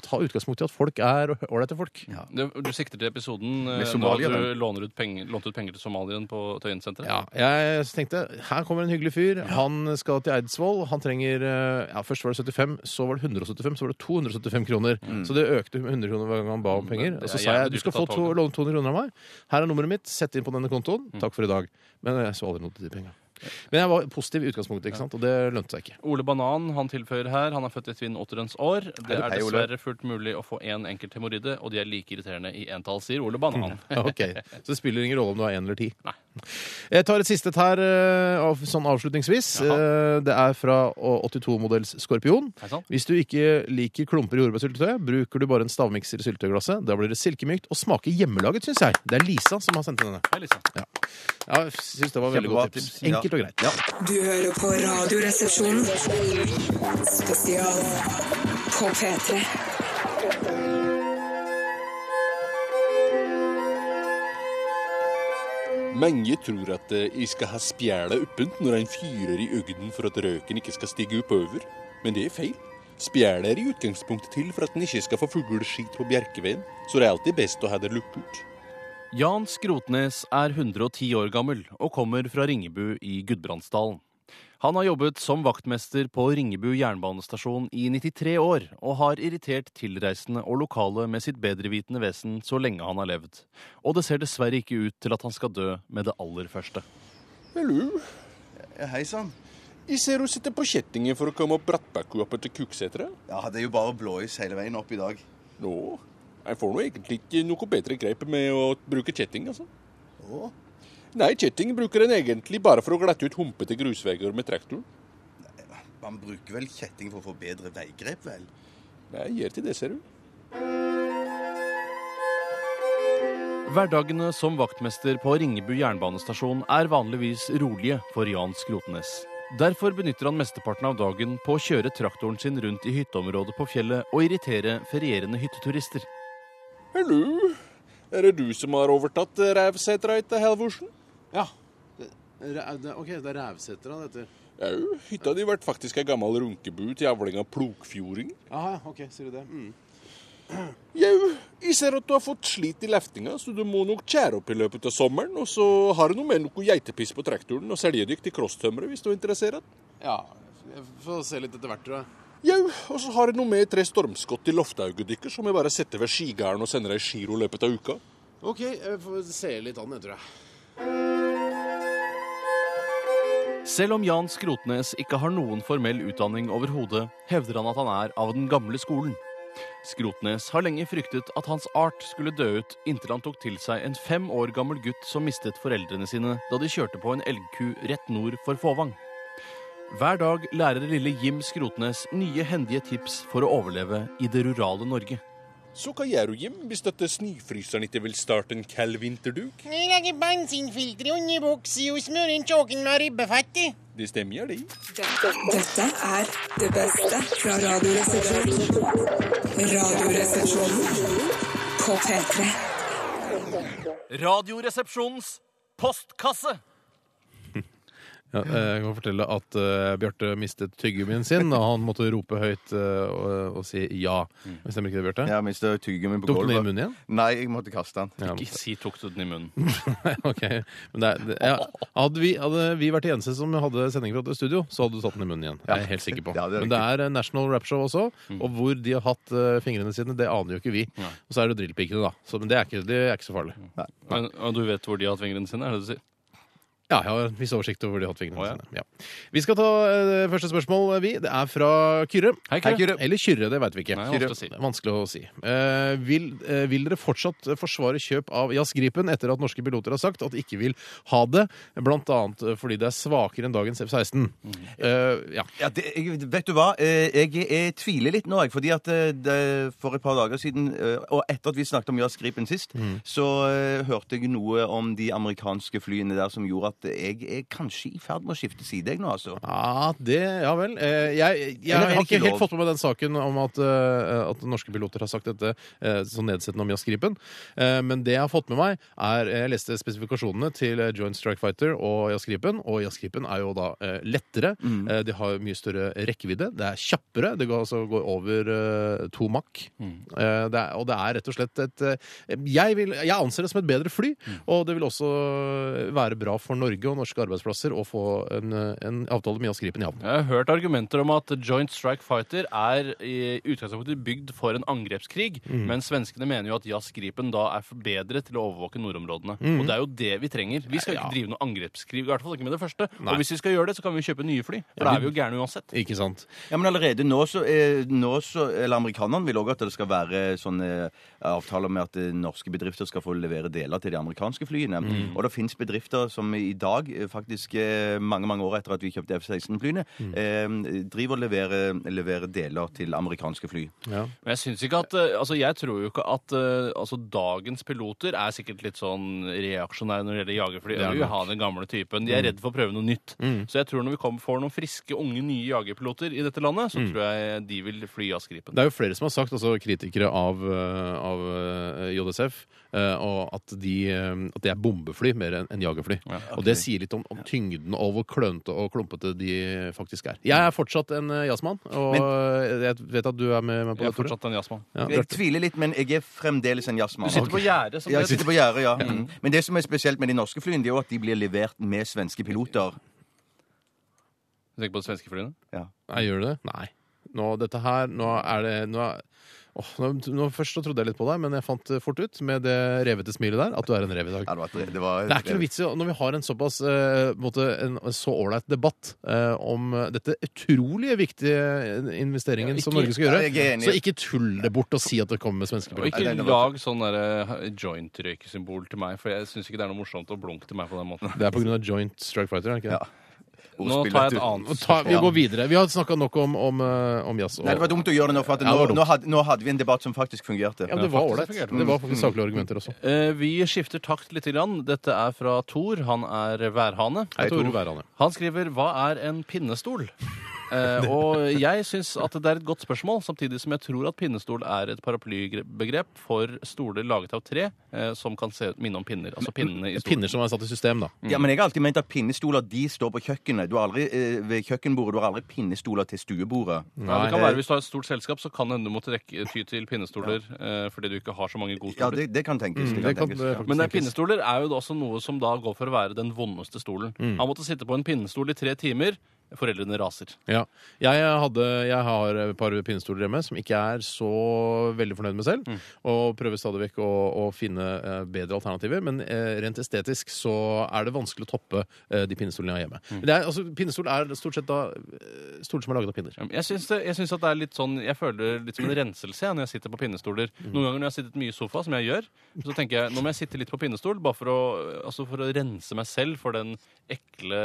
[SPEAKER 2] ta utgangspunkt i at folk er ålreite folk. Ja.
[SPEAKER 3] Du, du sikter til episoden eh,
[SPEAKER 4] Med
[SPEAKER 3] da
[SPEAKER 4] Somalia,
[SPEAKER 3] du låner ut penger, lånte ut penger til Somalien på Tøyensenteret?
[SPEAKER 2] jeg tenkte her kommer en hyggelig fyr. Han skal til Eidsvoll. Han trenger eh, ja, Først var det 75, så var det 175, så var det 275 kroner.
[SPEAKER 3] Mm.
[SPEAKER 2] Så det økte med 100 kroner hver gang han ba om penger.
[SPEAKER 3] Det er
[SPEAKER 2] Og så sa
[SPEAKER 3] jævlig
[SPEAKER 2] jeg du skal
[SPEAKER 3] dyrt å
[SPEAKER 2] få
[SPEAKER 3] ta
[SPEAKER 2] to,
[SPEAKER 3] toget.
[SPEAKER 2] låne 200 kroner av meg. Her er nummeret mitt. Sett inn på denne kontoen.
[SPEAKER 3] Mm.
[SPEAKER 2] Takk for i dag. Men eh, jeg så aldri noe til de penga. Men jeg var positiv i utgangspunktet, ikke sant? og det lønte seg ikke.
[SPEAKER 3] Ole Banan han tilføyer her han er født i Tvinn Otterens år. Det er
[SPEAKER 4] hei, Ole.
[SPEAKER 3] dessverre fullt mulig å få én enkelt hemoroide, og de er like irriterende i entall, sier Ole Banan.
[SPEAKER 2] Ok, Så det spiller ingen rolle om du har én eller ti?
[SPEAKER 3] Nei.
[SPEAKER 2] Jeg tar et siste her eh, av- sånn avslutningsvis. Eh, Det er fra 82-modells Skorpion.
[SPEAKER 3] Hei sann.
[SPEAKER 2] Hvis du ikke liker klumper i jordbærsyltetøy, bruker du bare en stavmikser i syltetøyglasset. Da blir det silkemykt og smaker hjemmelaget, syns jeg. Det er Lisa som har sendt inn denne.
[SPEAKER 3] Hei, Lisa.
[SPEAKER 2] Ja, jeg synes det var veldig
[SPEAKER 4] Kjempebra
[SPEAKER 2] godt tips.
[SPEAKER 4] tips. Ja.
[SPEAKER 2] Enkelt og greit.
[SPEAKER 1] Du hører på Radioresepsjonen. Spesial på P3.
[SPEAKER 8] Mange tror at eh, jeg skal ha spjæla åpent når en fyrer i øgden for at røken ikke skal stige oppover. Men det er feil. Spjæla er i utgangspunktet til for at en ikke skal få fugleskit på bjerkeveien, så det er alltid best å ha det lukket.
[SPEAKER 3] Jan Skrotnes er 110 år gammel og kommer fra Ringebu i Gudbrandsdalen. Han har jobbet som vaktmester på Ringebu jernbanestasjon i 93 år, og har irritert tilreisende og lokale med sitt bedrevitende vesen så lenge han har levd. Og det ser dessverre ikke ut til at han skal dø med det aller første.
[SPEAKER 8] Hallo,
[SPEAKER 4] Ja, Hei sann.
[SPEAKER 8] jeg ser du sitter på kjettingen for å komme opp brattbakka opp til Kuksetra.
[SPEAKER 4] Ja, det er jo bare blåis hele veien opp i dag.
[SPEAKER 8] Nå, jeg får nå egentlig ikke noe bedre grep med å bruke kjetting, altså.
[SPEAKER 4] Å?
[SPEAKER 8] Nei, kjetting bruker en egentlig bare for å glatte ut humpete grusveier med traktoren.
[SPEAKER 4] Man bruker vel kjetting for å få bedre veigrep, vel?
[SPEAKER 8] Nei, jeg gjør til det, ser du.
[SPEAKER 3] Hverdagene som vaktmester på Ringebu jernbanestasjon er vanligvis rolige for Jan Skrotnes. Derfor benytter han mesteparten av dagen på å kjøre traktoren sin rundt i hytteområdet på fjellet og irritere ferierende hytteturister.
[SPEAKER 8] Hallo, er det du som har overtatt eh, Rævsetra etter Halvorsen?
[SPEAKER 2] Ja. ok, det er Rævsetra det heter.
[SPEAKER 8] Jau, hytta di ble faktisk ei gammel runkebu til avling av plogfjordinger.
[SPEAKER 2] Aha, ok, sier du det.
[SPEAKER 8] Jau, jeg ser at du har fått slit i leftinga, så du må nok tjære opp i løpet av sommeren. Og så har du nå med noe geitepiss på traktoren og selger dykk til crosstømmeret hvis du er interessert.
[SPEAKER 2] Ja. Jeg får se litt etter hvert, tror jeg.
[SPEAKER 8] Jau, og så har jeg nå med tre stormskott i loftauget deres, som jeg bare setter ved skigarden og sender ei giro i løpet av uka.
[SPEAKER 2] OK, jeg får se litt an, jeg tror jeg.
[SPEAKER 3] Selv om Jan Skrotnes ikke har noen formell utdanning overhodet, hevder han at han er av den gamle skolen. Skrotnes har lenge fryktet at hans art skulle dø ut inntil han tok til seg en fem år gammel gutt som mistet foreldrene sine da de kjørte på en elgku rett nord for Fåvang. Hver dag lærer lille Jim Skrotnes nye hendige tips for å overleve i det rurale Norge.
[SPEAKER 8] Så hva gjør du, Jim, hvis dette snøfryseren ikke vil starte en kald vinterduk?
[SPEAKER 9] Jeg legger bensinfilteret under buksa og smører inn kjåken med ribbefett i.
[SPEAKER 8] Det stemmer, det.
[SPEAKER 1] Dette er det beste fra Radioresepsjonen. Radioresepsjonen på P3.
[SPEAKER 3] Radioresepsjonens postkasse!
[SPEAKER 2] Ja, eh, jeg kan fortelle at eh, Bjarte mistet tyggegummien sin, og han måtte rope høyt eh, og, og si ja. Men Stemmer ikke det, Bjarte?
[SPEAKER 4] Mm. Ja, mens det er tyggegummi på
[SPEAKER 2] Tok du den i
[SPEAKER 4] gulvet.
[SPEAKER 2] munnen igjen?
[SPEAKER 4] Nei, jeg måtte kaste den.
[SPEAKER 2] Ja.
[SPEAKER 3] Ikke si tok du den i munnen.
[SPEAKER 2] ok. Men det, er- det, ja. hadde, vi, hadde vi vært de eneste som hadde sending fra et studio, så hadde du tatt den i munnen igjen. Jeg er jeg helt sikker på.
[SPEAKER 4] Ja, det er Mm.
[SPEAKER 2] Men det er eh, National Rap Show også, og hvor de har hatt eh, fingrene sine, det aner jo ikke vi. Og så er det drillpikene, da. Så, men det er, ikke, det er ikke så farlig.
[SPEAKER 3] Men, og du vet hvor de har hatt fingrene sine? er det du sier?
[SPEAKER 2] Ja, jeg har en viss oversikt over de hotwingene.
[SPEAKER 3] Å, ja.
[SPEAKER 2] sine. ja. Vi skal ta eh, det første spørsmål, eh, vi. Det er fra Kyrre.
[SPEAKER 3] Hei, Kyrre.
[SPEAKER 2] Eller Kyrre, det veit vi ikke.
[SPEAKER 3] Nei,
[SPEAKER 2] Kyrre.
[SPEAKER 3] vanskelig å si.
[SPEAKER 2] Det er vanskelig å si. Eh, vil, eh, vil dere fortsatt forsvare kjøp av jazzgripen etter at norske piloter har sagt at de ikke vil ha det, blant annet eh, fordi det er svakere enn dagens F-16?
[SPEAKER 3] Mm.
[SPEAKER 2] Eh, ja.
[SPEAKER 4] Ja, det, jeg, vet du hva? Eh, Jeg, jeg tviler litt nå, jeg. Fordi at eh, det, for et par dager siden, eh, og etter at vi snakket om Jazz Gripen sist,
[SPEAKER 2] Mm.
[SPEAKER 4] så eh, hørte jeg noe om de amerikanske flyene der som gjorde at jeg er kanskje i ferd med å skifte side, jeg nå, altså.
[SPEAKER 2] Ja, det, ja vel. Eh, Jeg, jeg
[SPEAKER 4] Eller
[SPEAKER 2] har
[SPEAKER 4] har
[SPEAKER 2] ikke
[SPEAKER 4] ikke
[SPEAKER 2] helt
[SPEAKER 4] lov.
[SPEAKER 2] fått med meg den saken om at, eh, at norske piloter har sagt dette eh, så nedsettende om jazzgripen. Eh, Men det jeg har fått med meg, er eh, Jeg leste spesifikasjonene til eh, Joint Strike Fighter og jazzgripen, og jazzgripen er jo da eh, lettere. Eh, De har mye større rekkevidde. Det er kjappere. Det går, altså, går over eh, to makk. Eh, Det er, og det er rett og slett et eh, jeg, vil, jeg anser det som et bedre fly, og det vil også være bra for Norge og norske arbeidsplasser å få en, eh, en avtale med Jazz Gripen i havn.
[SPEAKER 3] Jeg har hørt argumenter om at Joint Strike Fighter er i utgangspunktet bygd for en angrepskrig,
[SPEAKER 2] Mm.
[SPEAKER 3] men svenskene mener jo at Jazz Gripen da er for bedre til å overvåke nordområdene. Og det er jo det vi trenger. Vi skal
[SPEAKER 2] Mm. Ja.
[SPEAKER 3] ikke drive noen angrepskrig, i hvert fall ikke med det første.
[SPEAKER 2] Nei.
[SPEAKER 3] Og hvis vi skal gjøre det, så kan vi kjøpe nye fly, for da er vi jo gærne uansett.
[SPEAKER 2] Ikke sant?
[SPEAKER 4] Ja, Men allerede nå så, eh, nå så Eller amerikanerne vil òg at det skal være sånne avtaler med at eh, norske bedrifter skal få levere deler til de amerikanske flyene.
[SPEAKER 3] Mm.
[SPEAKER 4] Og det fins bedrifter som i dag, eh, faktisk eh, mange mange år etter at vi kjøpte F-16-flyene,
[SPEAKER 3] Mm.
[SPEAKER 4] eh, driver og leverer, leverer deler til amerikanske fly.
[SPEAKER 3] Men jeg syns ikke at eh, Altså, jeg tror jo ikke at eh, Altså, dagens piloter er sikkert litt sånn reaksjonære når det gjelder jagerfly.
[SPEAKER 2] er
[SPEAKER 3] De vil
[SPEAKER 2] nok. Mm.
[SPEAKER 3] ha den gamle typen. De er redd for å prøve noe nytt. Så jeg tror når vi kommer, får noen friske, unge, nye jagerpiloter i dette landet,
[SPEAKER 2] Mm.
[SPEAKER 3] så tror jeg de vil fly Jazz Gripen.
[SPEAKER 2] Det er jo flere som har sagt, altså kritikere av, eh, av eh, JSF, eh, og at, de, eh, at det er bombefly mer enn enn jagerfly. Og det sier litt om, om tyngden og hvor klønete og klumpete de faktisk er. Jeg er fortsatt en eh, jazzmann, og eh, jeg vet at du er med meg på
[SPEAKER 3] Jeg er
[SPEAKER 2] det. Tore.
[SPEAKER 3] fortsatt en jazzmann.
[SPEAKER 2] Ja,
[SPEAKER 4] Jeg
[SPEAKER 2] Bjarte.
[SPEAKER 4] tviler litt, men jeg er fremdeles en
[SPEAKER 3] Du
[SPEAKER 4] jazzmann.
[SPEAKER 3] sitter på gjerdet. som
[SPEAKER 4] Ja,
[SPEAKER 3] det
[SPEAKER 4] jeg sitter på gjerdet, ja. Mm. Men det som er spesielt med de norske flyene, det er jo at de blir levert med svenske piloter.
[SPEAKER 3] heter. Du tenker på de svenske flyene?
[SPEAKER 2] Nei, gjør du det? Nei. Nå, dette her, nå er det nå er, Åh, nå, nå Først så trodde jeg litt på deg, men jeg fant eh, fort ut med det revete smilet der at du er en rev i dag.
[SPEAKER 4] Ja, det, var, det, var,
[SPEAKER 2] Det er ikke noe vits i å- når vi har en såpass eh, på en måte, en så ålreit debatt eh, om dette utrolig viktige eh, investeringen som Norge skal
[SPEAKER 4] Ja, jeg
[SPEAKER 2] gjøre.
[SPEAKER 4] er enig.
[SPEAKER 2] så ikke tull det bort og si at det kommer med svenske
[SPEAKER 3] Og
[SPEAKER 2] produkter.
[SPEAKER 4] Nei,
[SPEAKER 3] ikke
[SPEAKER 4] det var-
[SPEAKER 3] lag sånn der, eh, joint-røykesymbol til meg, for jeg syns ikke det er noe morsomt å blunke til meg på den måten.
[SPEAKER 2] Det er pga. Joint Strike Fighter. er det ikke det?
[SPEAKER 3] Nå tar jeg et annet.
[SPEAKER 2] Og Ta, vi går videre. Vi har snakka nok om, om, eh, om jazz. og-
[SPEAKER 4] Nei, det var dumt å gjøre det nå, for at
[SPEAKER 2] det var
[SPEAKER 4] nå,
[SPEAKER 2] dumt.
[SPEAKER 4] nå, hadde, nå hadde vi en debatt som faktisk fungerte.
[SPEAKER 2] ja, men det var
[SPEAKER 3] faktisk
[SPEAKER 2] ålreit.
[SPEAKER 3] fungerte Mm.
[SPEAKER 2] Det var faktisk saklige argumenter også.
[SPEAKER 3] Eh, Vi skifter takt lite grann. Dette er fra Thor. Han er værhane.
[SPEAKER 2] Hei, Tore Værane.
[SPEAKER 3] Han skriver 'Hva er en pinnestol?' Eh, og jeg syns at det er et godt spørsmål, samtidig som jeg tror at pinnestol er et paraplybegrep for stoler laget av tre eh, som kan se, minne om pinner. Altså pinnene i Mm. stolen.
[SPEAKER 2] Pinner som er satt i system, da.
[SPEAKER 4] Ja, men jeg har alltid ment at pinnestoler de står på kjøkkenet. Du har aldri, eh, ved kjøkkenbordet, du har aldri pinnestoler til stuebordet.
[SPEAKER 3] Ja, det kan være Hvis du har et stort selskap, så kan det hende du må trekke- ty til pinnestoler eh, fordi du ikke har så mange gode
[SPEAKER 4] Ja,
[SPEAKER 3] stoler.
[SPEAKER 4] det, det kan tenkes.
[SPEAKER 2] Det kan
[SPEAKER 4] tenkes.
[SPEAKER 2] eh,
[SPEAKER 4] ja.
[SPEAKER 2] faktisk
[SPEAKER 3] Men eh,
[SPEAKER 2] tenkes.
[SPEAKER 3] pinnestoler er jo da også noe som da går for å være den vondeste stolen.
[SPEAKER 2] Mm.
[SPEAKER 3] Han måtte sitte på en pinnestol i tre timer. Foreldrene raser.
[SPEAKER 2] Ja. Jeg, hadde, jeg har et par pinnestoler hjemme som ikke er så veldig fornøyd
[SPEAKER 3] Mm.
[SPEAKER 2] med selv, og prøver stadig vekk å, å finne eh, bedre alternativer. Men eh, rent estetisk så er det vanskelig å toppe eh, de pinnestolene
[SPEAKER 3] Mm.
[SPEAKER 2] jeg har hjemme. Det er, altså, pinnestol er stort sett da eh, stoler som er laget av pinner.
[SPEAKER 3] Ja, men Jeg syns, det, jeg syns at det er litt sånn Jeg føler det litt som en renselse jeg, når jeg sitter på pinnestoler.
[SPEAKER 2] Mm.
[SPEAKER 3] Noen ganger når jeg har sittet mye i sofa, som jeg gjør, så tenker jeg nå må jeg sitte litt på pinnestol bare for å, altså for å rense meg selv for den ekle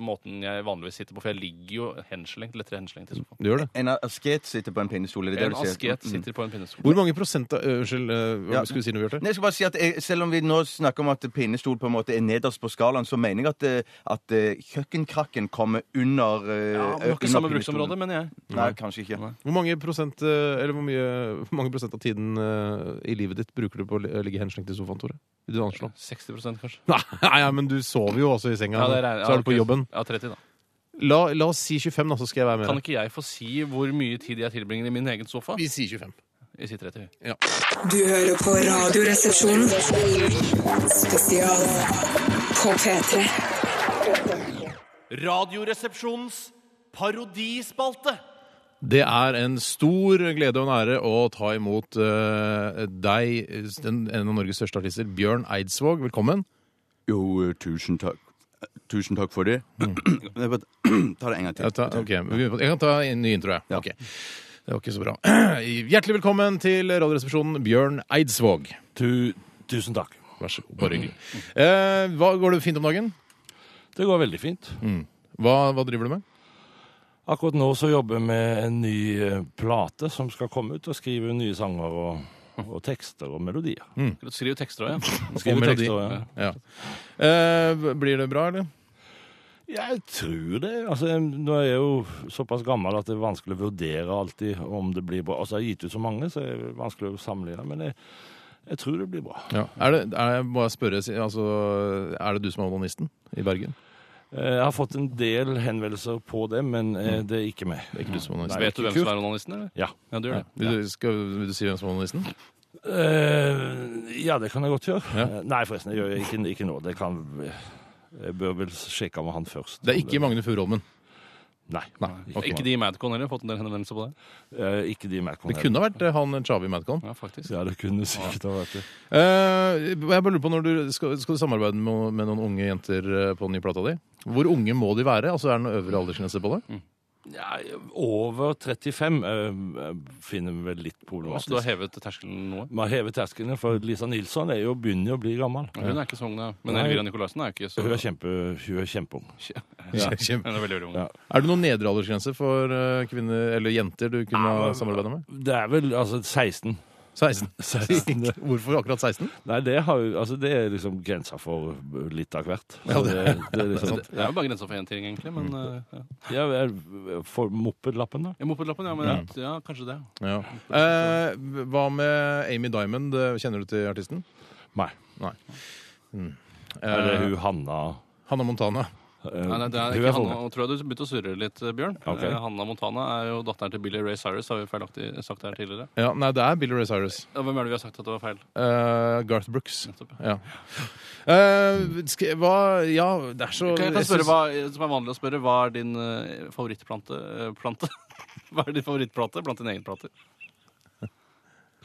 [SPEAKER 3] måten jeg vanligvis sitter på. For jeg ligger jo henslengt, lettere henslengt i sofaen.
[SPEAKER 2] Du gjør det.
[SPEAKER 4] En asket sitter på en pinnestol. er det det
[SPEAKER 3] En
[SPEAKER 4] du sier? Mm.
[SPEAKER 3] asket sitter på en pinnestol.
[SPEAKER 2] Hvor mange prosent av øh, Unnskyld, eh, hva
[SPEAKER 4] Ja.
[SPEAKER 2] skulle du si når vi gjør det?
[SPEAKER 4] Nei, jeg skal bare si at jeg, Selv om vi nå snakker om at pinnestol på en måte er nederst på skalaen, så mener jeg at, eh, at eh, kjøkkenkrakken kommer under eh,
[SPEAKER 3] Ja, det var
[SPEAKER 4] under
[SPEAKER 3] ikke samme
[SPEAKER 4] pinnestolen.
[SPEAKER 3] bruksområde, mener jeg.
[SPEAKER 4] Nei, kanskje ikke.
[SPEAKER 2] Hvor mange prosent, eh, eller hvor, mye, hvor mange prosent av tiden eh, i livet ditt bruker du på å li- ligge henslengt i sofaen, Tore? Vil du anslå?
[SPEAKER 3] 60 kanskje.
[SPEAKER 2] Nei, ja, men du sover jo også i senga.
[SPEAKER 3] Ja, det regner-
[SPEAKER 2] så er du på
[SPEAKER 3] ja,
[SPEAKER 2] jobben.
[SPEAKER 3] Ja, 30, da.
[SPEAKER 2] La, la oss si 25, da, så skal jeg være med.
[SPEAKER 3] Kan ikke jeg få si hvor mye tid jeg tilbringer i min egen sofa?
[SPEAKER 2] Vi sier 25.
[SPEAKER 3] Jeg sier 30.
[SPEAKER 1] Du hører på Radioresepsjonen. Spesial på P3.
[SPEAKER 6] Radioresepsjonens parodispalte.
[SPEAKER 2] Det er en stor glede og en ære å ta imot eh, deg, den, en av Norges største artister, Bjørn Eidsvåg. Velkommen.
[SPEAKER 4] Jo, tusen takk. Tusen takk for det. Jeg bare Ta det en gang
[SPEAKER 2] Ja,
[SPEAKER 4] til.
[SPEAKER 2] ta, Mm. ok, vi begynner på- Jeg kan ta en ny intro, jeg.
[SPEAKER 4] Ja.
[SPEAKER 2] Ok. Det var ikke så bra. Hjertelig velkommen til Radioresepsjonen, Bjørn Eidsvåg.
[SPEAKER 10] tusen takk.
[SPEAKER 2] Vær så god. Bare hyggelig.
[SPEAKER 3] Mm.
[SPEAKER 2] Eh, hva går det fint om dagen? Mm.
[SPEAKER 10] Det går veldig fint.
[SPEAKER 2] Hva, hva driver du med?
[SPEAKER 10] Akkurat nå så jobber jeg med en ny eh, plate som skal komme ut, og skriver nye sanger og, og tekster og melodier.
[SPEAKER 2] Mm.
[SPEAKER 3] Du skriver jo tekster òg, ja.
[SPEAKER 10] Skriver
[SPEAKER 2] Og melodi.
[SPEAKER 10] tekster, ja.
[SPEAKER 2] Ja. Eh, blir det bra, eller?
[SPEAKER 10] Jeg tror det. Altså, jeg- nå er jeg jo såpass gammel at det er vanskelig å vurdere alltid om det blir bra. Altså, jeg har gitt ut så mange, så det er vanskelig å sammenligne, men jeg, jeg tror det blir bra.
[SPEAKER 2] Er det, er, må jeg spørre, altså, er det du som er onanisten i Bergen?
[SPEAKER 10] Eh, Jeg har fått en del henvendelser på det, men eh, det er ikke meg.
[SPEAKER 2] Mm. Det er ikke du som er onanisten.
[SPEAKER 10] Nei.
[SPEAKER 3] Vet du hvem som er onanisten, eller?
[SPEAKER 10] Ja.
[SPEAKER 3] Ja, du gjør det.
[SPEAKER 2] Vil du, skal, vil du si hvem som er onanisten?
[SPEAKER 10] Eh, ja, det kan jeg godt gjøre.
[SPEAKER 2] Ja.
[SPEAKER 10] Eh, Nei, forresten, jeg gjør det ikke, ikke nå. Det kan, jeg bør vel sjekke med han først.
[SPEAKER 2] Det er ikke Magne Furuholmen.
[SPEAKER 10] Nei.
[SPEAKER 2] ok.
[SPEAKER 3] Ikke de i Madcon heller? Fått en del henvendelser på det?
[SPEAKER 10] Eh, ikke de Malcolm
[SPEAKER 2] Det kunne ha vært eh, han Chavi Madcon.
[SPEAKER 3] Ja, faktisk.
[SPEAKER 10] Ja, det kunne sikkert ha vært det.
[SPEAKER 2] Eh, jeg bare lurer på når du skal, skal du samarbeide med, med noen unge jenter eh, på den nye plata di? Hvor unge må de være? Altså Er det noen øvre aldersgrense på
[SPEAKER 3] Mm.
[SPEAKER 2] det?
[SPEAKER 10] Ja, over 35 eh, finner vi vel litt
[SPEAKER 3] Altså, du har
[SPEAKER 10] problematisk.
[SPEAKER 3] hevet terskelen noe?
[SPEAKER 10] Man hever terskelen, for Lisa Nilsson er jo begynner jo å bli gammel.
[SPEAKER 3] Hun er ikke så ung, da. Men
[SPEAKER 10] Nei.
[SPEAKER 3] Elvira Nicolaisen er ikke så
[SPEAKER 10] Hun er, kjempe, hun er kjempeung.
[SPEAKER 2] Kjempe.
[SPEAKER 3] Hun er veldig, veldig ung.
[SPEAKER 10] Ja.
[SPEAKER 2] Er det noen nedre aldersgrense for eh, kvinner eller jenter du kunne ha
[SPEAKER 10] Ja, men-
[SPEAKER 2] samarbeida med?
[SPEAKER 10] Det er vel altså 16.
[SPEAKER 2] 16.
[SPEAKER 10] 16 det-
[SPEAKER 2] Hvorfor akkurat 16?
[SPEAKER 10] Nei, det, har, jo- altså, det er liksom grensa for litt av hvert. Så
[SPEAKER 2] Ja, det-
[SPEAKER 10] det er liksom,
[SPEAKER 3] Det er jo bare grensa for én ting, egentlig. Men eh, ja.
[SPEAKER 10] Ja, jeg får mopedlappen, da.
[SPEAKER 3] Ja, Mopedlappen, ja. Men ja. kanskje det.
[SPEAKER 2] Ja. Eh, hva med Amy Diamond? Eh, Kjenner du til artisten?
[SPEAKER 10] Nei.
[SPEAKER 2] Eh,
[SPEAKER 10] Er det hun Hanna
[SPEAKER 2] Hanna Montana.
[SPEAKER 10] eh,
[SPEAKER 3] Nei, nei, det er
[SPEAKER 10] hun
[SPEAKER 3] ikke
[SPEAKER 10] sånn,
[SPEAKER 3] Hanna, og tror jeg du begynte å surre litt, eh, Bjørn.
[SPEAKER 10] Ok.
[SPEAKER 3] Eh, Hanna Montana er jo datteren til Billy Ray Cyrus, har vi feilaktig sagt her tidligere.
[SPEAKER 2] Ja, nei, det er Billy Ray Cyrus.
[SPEAKER 3] Ja, Hvem er det vi har sagt at det var feil?
[SPEAKER 2] Eh, Garth Brooks.
[SPEAKER 3] Nettopp, ja.
[SPEAKER 2] Ja. Eh, sk hva Ja, det er så
[SPEAKER 3] Kan jeg kan
[SPEAKER 2] jeg
[SPEAKER 3] spørre
[SPEAKER 2] synes-
[SPEAKER 3] hva, som er vanlig å spørre, hva er din eh, favorittplante? eh, plante? Hva er din favorittplate blant dine egne plater?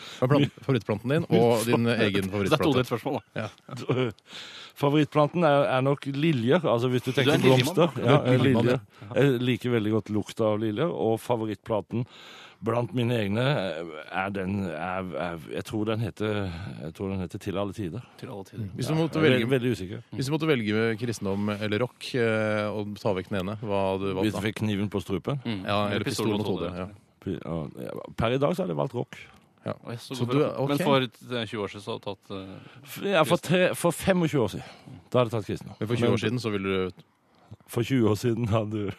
[SPEAKER 2] Hva er plan- favorittplanten din og din egen
[SPEAKER 3] Det er todelt
[SPEAKER 2] favorittplate?
[SPEAKER 3] spørsmål, da.
[SPEAKER 10] eh, Favorittplanten er, er nok liljer. Altså hvis du tenker
[SPEAKER 3] en liljemann,
[SPEAKER 10] blomster. Ja,
[SPEAKER 2] Du er en liljemann,
[SPEAKER 10] liljer. Jeg liker veldig godt lukta av liljer. Og favorittplaten blant mine egne eh, er den er, er, jeg, tror den heter, jeg tror den heter Til alle tider.
[SPEAKER 3] Til alle tider. Mm.
[SPEAKER 2] Hvis du måtte
[SPEAKER 10] Jeg er veldig,
[SPEAKER 2] velge,
[SPEAKER 10] veldig usikker.
[SPEAKER 2] hvis du måtte velge kristendom eller rock eh, og ta vekk den ene, hva hadde du valgt
[SPEAKER 10] Hvis du
[SPEAKER 2] da?
[SPEAKER 10] fikk kniven på strupen.
[SPEAKER 3] Mm.
[SPEAKER 2] Ja, eller pistol mot hodet. Ja.
[SPEAKER 10] Ja, Per i dag så hadde jeg valgt rock.
[SPEAKER 3] Oi, så
[SPEAKER 2] Så
[SPEAKER 3] god
[SPEAKER 2] du
[SPEAKER 3] for-
[SPEAKER 2] er- ok.
[SPEAKER 3] Men for eh, 20 år siden så har du tatt eh,
[SPEAKER 10] Ja, for, tre, for 25 år siden. Da hadde jeg tatt kristne.
[SPEAKER 2] Men for 20 år siden så ville du
[SPEAKER 10] For 20 år siden hadde du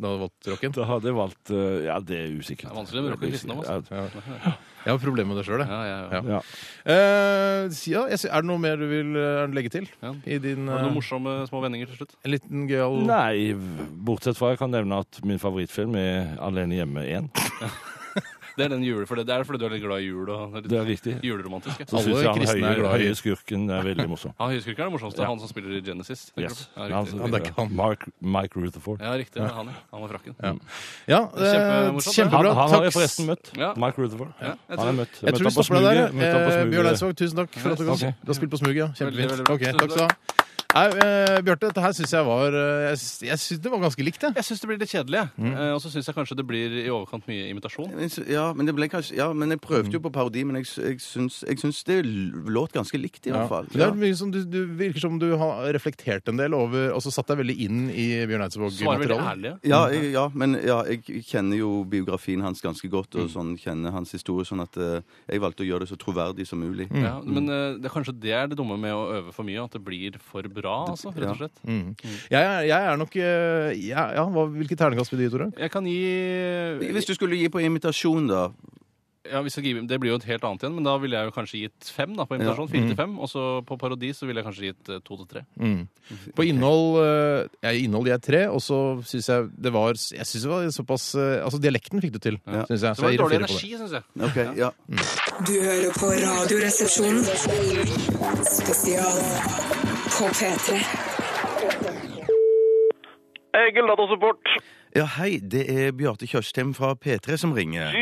[SPEAKER 2] Da hadde du valgt rocken?
[SPEAKER 10] Da hadde jeg valgt eh, Ja, det er usikkert.
[SPEAKER 3] Det er vanskelig med rock og kristendom, altså.
[SPEAKER 2] Ja. Jeg har problemer med det sjøl, jeg.
[SPEAKER 3] Ja, ja, ja.
[SPEAKER 2] Ja.
[SPEAKER 10] Ja.
[SPEAKER 2] Eh, ja, jeg sy- er det noe mer du vil eh, legge til?
[SPEAKER 3] Ja.
[SPEAKER 2] I din
[SPEAKER 3] Var det noen
[SPEAKER 2] eh,
[SPEAKER 3] morsomme små vendinger til slutt?
[SPEAKER 2] en liten gøyal
[SPEAKER 10] Nei, bortsett fra jeg kan nevne at min favorittfilm er Alene hjemme 1.
[SPEAKER 3] Det er den jule, for det, det er fordi du er litt glad i jul og det
[SPEAKER 10] Det
[SPEAKER 3] er
[SPEAKER 10] er
[SPEAKER 3] litt
[SPEAKER 10] riktig.
[SPEAKER 3] juleromantisk.
[SPEAKER 10] Så
[SPEAKER 2] Alle
[SPEAKER 3] Ja.
[SPEAKER 10] syns jeg han
[SPEAKER 2] kristne er
[SPEAKER 10] høye,
[SPEAKER 2] glad i-
[SPEAKER 10] høye skurken er veldig morsom.
[SPEAKER 3] Ja, Huskirken er det morsomste.
[SPEAKER 10] Ja.
[SPEAKER 3] Han som spiller i Genesis. tenker
[SPEAKER 10] Yes.
[SPEAKER 3] du? Ja, riktig.
[SPEAKER 10] Altså,
[SPEAKER 2] Ja, det er ikke han.
[SPEAKER 10] Mark, Mike Rutherford.
[SPEAKER 3] Ja, riktig. Det er han, ja. Han var frakken.
[SPEAKER 2] Ja. Ja,
[SPEAKER 3] Kjempemorsomt,
[SPEAKER 2] eh,
[SPEAKER 3] det.
[SPEAKER 10] Han,
[SPEAKER 2] kjempebra.
[SPEAKER 10] han har jeg
[SPEAKER 2] Takk.
[SPEAKER 10] forresten møtt.
[SPEAKER 3] Ja.
[SPEAKER 10] Mike Rutherford.
[SPEAKER 3] Ja, jeg
[SPEAKER 10] Han
[SPEAKER 3] tror-
[SPEAKER 10] er møtt. han
[SPEAKER 2] Jeg tror vi
[SPEAKER 10] på
[SPEAKER 2] stopper deg
[SPEAKER 10] smuget.
[SPEAKER 2] der.
[SPEAKER 10] Møtte han på
[SPEAKER 2] Eh, Bjørn
[SPEAKER 10] smuget.
[SPEAKER 2] Eidsvåg, tusen takk for at du,
[SPEAKER 10] Ok.
[SPEAKER 2] du har spilt på smuget. ja. Kjempefint.
[SPEAKER 3] Veldig, veldig bra.
[SPEAKER 2] Ok, takk skal du ha. Nei, eh, Bjarte, dette her syns jeg var eh, Jeg, sy- jeg syns det Mm. var ganske likt, jeg.
[SPEAKER 3] Jeg syns det blir litt kjedelig, jeg. Eh, og så syns jeg kanskje det blir i overkant mye imitasjon.
[SPEAKER 4] Men s- Ja, men det ble kanskje Ja, men jeg prøvde jo
[SPEAKER 2] Mm.
[SPEAKER 4] på parodi, men jeg, s- jeg, syns, jeg syns det l- låt ganske likt, i hvert fall.
[SPEAKER 2] Det er mye som du, du virker som du har reflektert en del over, og så satt deg veldig inn i Bjørn
[SPEAKER 3] Så var det veldig
[SPEAKER 2] Eidsvåg-materialet. Mm.
[SPEAKER 3] ærlige.
[SPEAKER 4] Ja, jeg, ja, men ja, jeg kjenner jo biografien hans ganske godt,
[SPEAKER 2] Mm.
[SPEAKER 4] og sånn kjenner hans historie, sånn at eh, jeg valgte å gjøre det så troverdig som mulig.
[SPEAKER 2] Mm.
[SPEAKER 3] Ja, men eh, det er kanskje det er det dumme med å øve for mye, at det blir for bra, altså, rett og slett.
[SPEAKER 2] Mm. Jeg, er- jeg er nok eh, ja, ja, hva, Hvilket terningkast vil du gi, Tore?
[SPEAKER 3] Jeg kan gi
[SPEAKER 4] Hvis du skulle gi på imitasjon, da
[SPEAKER 3] ja, hvis jeg gir, Det blir jo et helt annet igjen, men da ville jeg jo kanskje gitt fem da, på imitasjon.
[SPEAKER 2] Mm.
[SPEAKER 3] Fire til fem. Og så på parodi så ville jeg kanskje gitt eh, to til tre.
[SPEAKER 2] Sånn På innhold eh, jeg, innhold gir jeg tre, og så syns jeg det var Jeg synes det var såpass eh, Altså, dialekten fikk du til, syns
[SPEAKER 3] Det
[SPEAKER 2] jeg. Så
[SPEAKER 3] var litt
[SPEAKER 2] jeg gir
[SPEAKER 3] dårlig
[SPEAKER 2] en fire på det. Mm.
[SPEAKER 3] energi, syns jeg.
[SPEAKER 4] OK, ja.
[SPEAKER 1] Du hører på Radioresepsjonen. Spesial på P3.
[SPEAKER 6] Egil datasupport.
[SPEAKER 4] Ja, hei, det er Bjarte Tjøstheim fra P3 som ringer.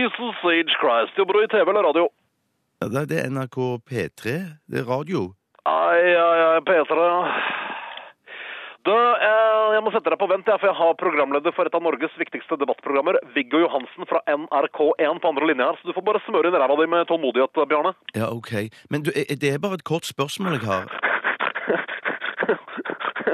[SPEAKER 6] Jesus age Christ. Jobber du i TV eller radio?
[SPEAKER 4] Ja, det er- det er NRK P3. Det er radio.
[SPEAKER 6] Ai, ai, ai, P3. Du, eh, jeg må sette deg på vent, jeg, for jeg har programleder for et av Norges viktigste debattprogrammer, Viggo Johansen fra NRK1 på andre linja her, så du får bare smøre inn ræva di med tålmodighet, Bjarne.
[SPEAKER 4] Ja, OK. Men du, eh, det er bare et kort spørsmål jeg har.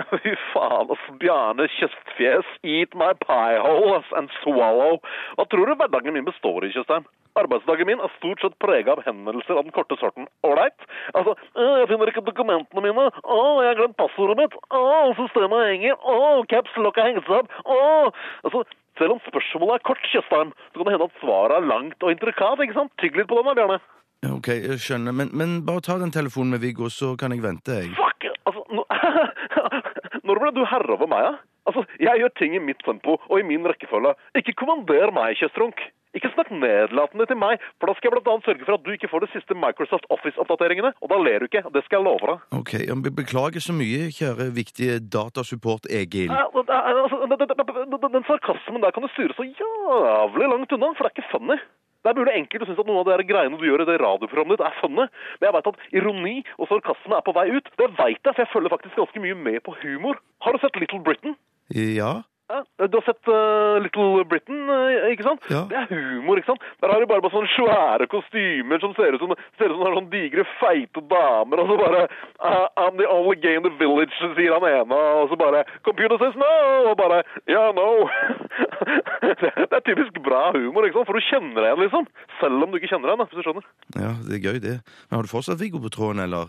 [SPEAKER 6] Fy faen, ass. Bjarne Kjøstfjes, eat my pie hole ass, and swallow. Hva tror du hverdagen min består i, Tjøstheim? Arbeidsdagen min er stort sett prega av henvendelser av den korte sorten. Ålreit? Altså, «Å, jeg finner ikke dokumentene mine. Å, jeg har glemt passordet mitt. Å, systemet henger. Å, caps lock er hengt opp. Å Altså, selv om spørsmålet er kort, Tjøstheim, så kan det hende at svaret er langt og intrikat, ikke sant? Tygg litt på den da, Bjarne.
[SPEAKER 4] Ja, OK, jeg skjønner. Men, men bare ta den telefonen med Viggo, så kan jeg vente, jeg.
[SPEAKER 6] Fuck! Altså, nå, når ble du herre over meg, da? Altså, jeg gjør ting i mitt tempo og i min rekkefølge. Ikke kommander meg, Kjøstrunk. Ikke snakk nedlatende til meg, for da skal jeg blant annet sørge for at du ikke får de siste Microsoft Office-oppdateringene, og da ler du ikke. Det skal jeg love deg.
[SPEAKER 4] Ok, ja, men Beklager så mye, kjære viktige datasupport Egil.
[SPEAKER 6] Eh, eh, Altså, den- den- den- den- den sarkasmen der kan du styre så jævlig langt unna, for det er ikke funny. Det er mulig enkelte syns at noen av de her greiene du gjør i det radioprogrammet ditt, er funny, men jeg veit at ironi og sarkasme er på vei ut. Det veit jeg, for jeg følger faktisk ganske mye med på humor. Har du sett Little Britain?
[SPEAKER 4] Ja?
[SPEAKER 6] Ja, Du har sett eh, Little Britain, eh, ikke sant?
[SPEAKER 4] Ja.
[SPEAKER 6] Det er humor, ikke sant? Der har de bare, bare sånne svære kostymer som ser ut som, ser ut som de har sånne digre, feite damer, og så bare eh, I'm the only gay in the village, sier han ene, og så bare Computer says no! Og bare Yeah, no! det, det er typisk bra humor, ikke sant? For du kjenner deg igjen, liksom. Selv om du ikke kjenner deg igjen, da, hvis du skjønner.
[SPEAKER 4] Ja, det er gøy, det. Men har du fortsatt Viggo på tråden, eller?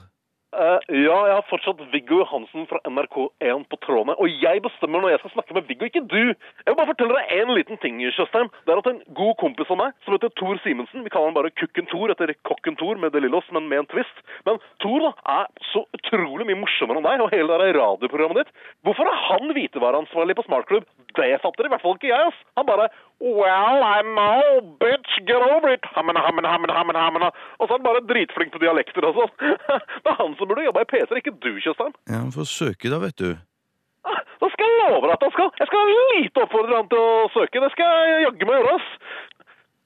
[SPEAKER 6] Eh, ja, jeg har fortsatt Viggo Hansen fra NRK1 på trådene, og jeg bestemmer når jeg skal snakke med Viggo, ikke du. Jeg vil bare fortelle deg en liten ting, Kjøstheim. Det er at en god kompis av meg, som heter Tor Simensen, vi kaller han bare Kukken Tor etter Kokken Tor med det lille oss, men med en twist. Men Tor da, er så utrolig mye morsommere enn deg og hele det der radioprogrammet ditt. Hvorfor er han hvitevareansvarlig på Smartklubb? Det fatter i hvert fall ikke jeg, ass. Han bare, well, I'm all bitch, get over it. Hammen, hammen, hammen, hammen, hammen. Og så er han bare dritflink på dialekter, altså. Det er han som burde jobbe i P3, ikke du, Kjøstheim.
[SPEAKER 4] Ja, han får søke, da, vet du.
[SPEAKER 6] Ah, Da skal jeg love deg at han skal. Jeg skal lite oppfordre han til å søke. Det skal jeg jaggu meg gjøre, ass.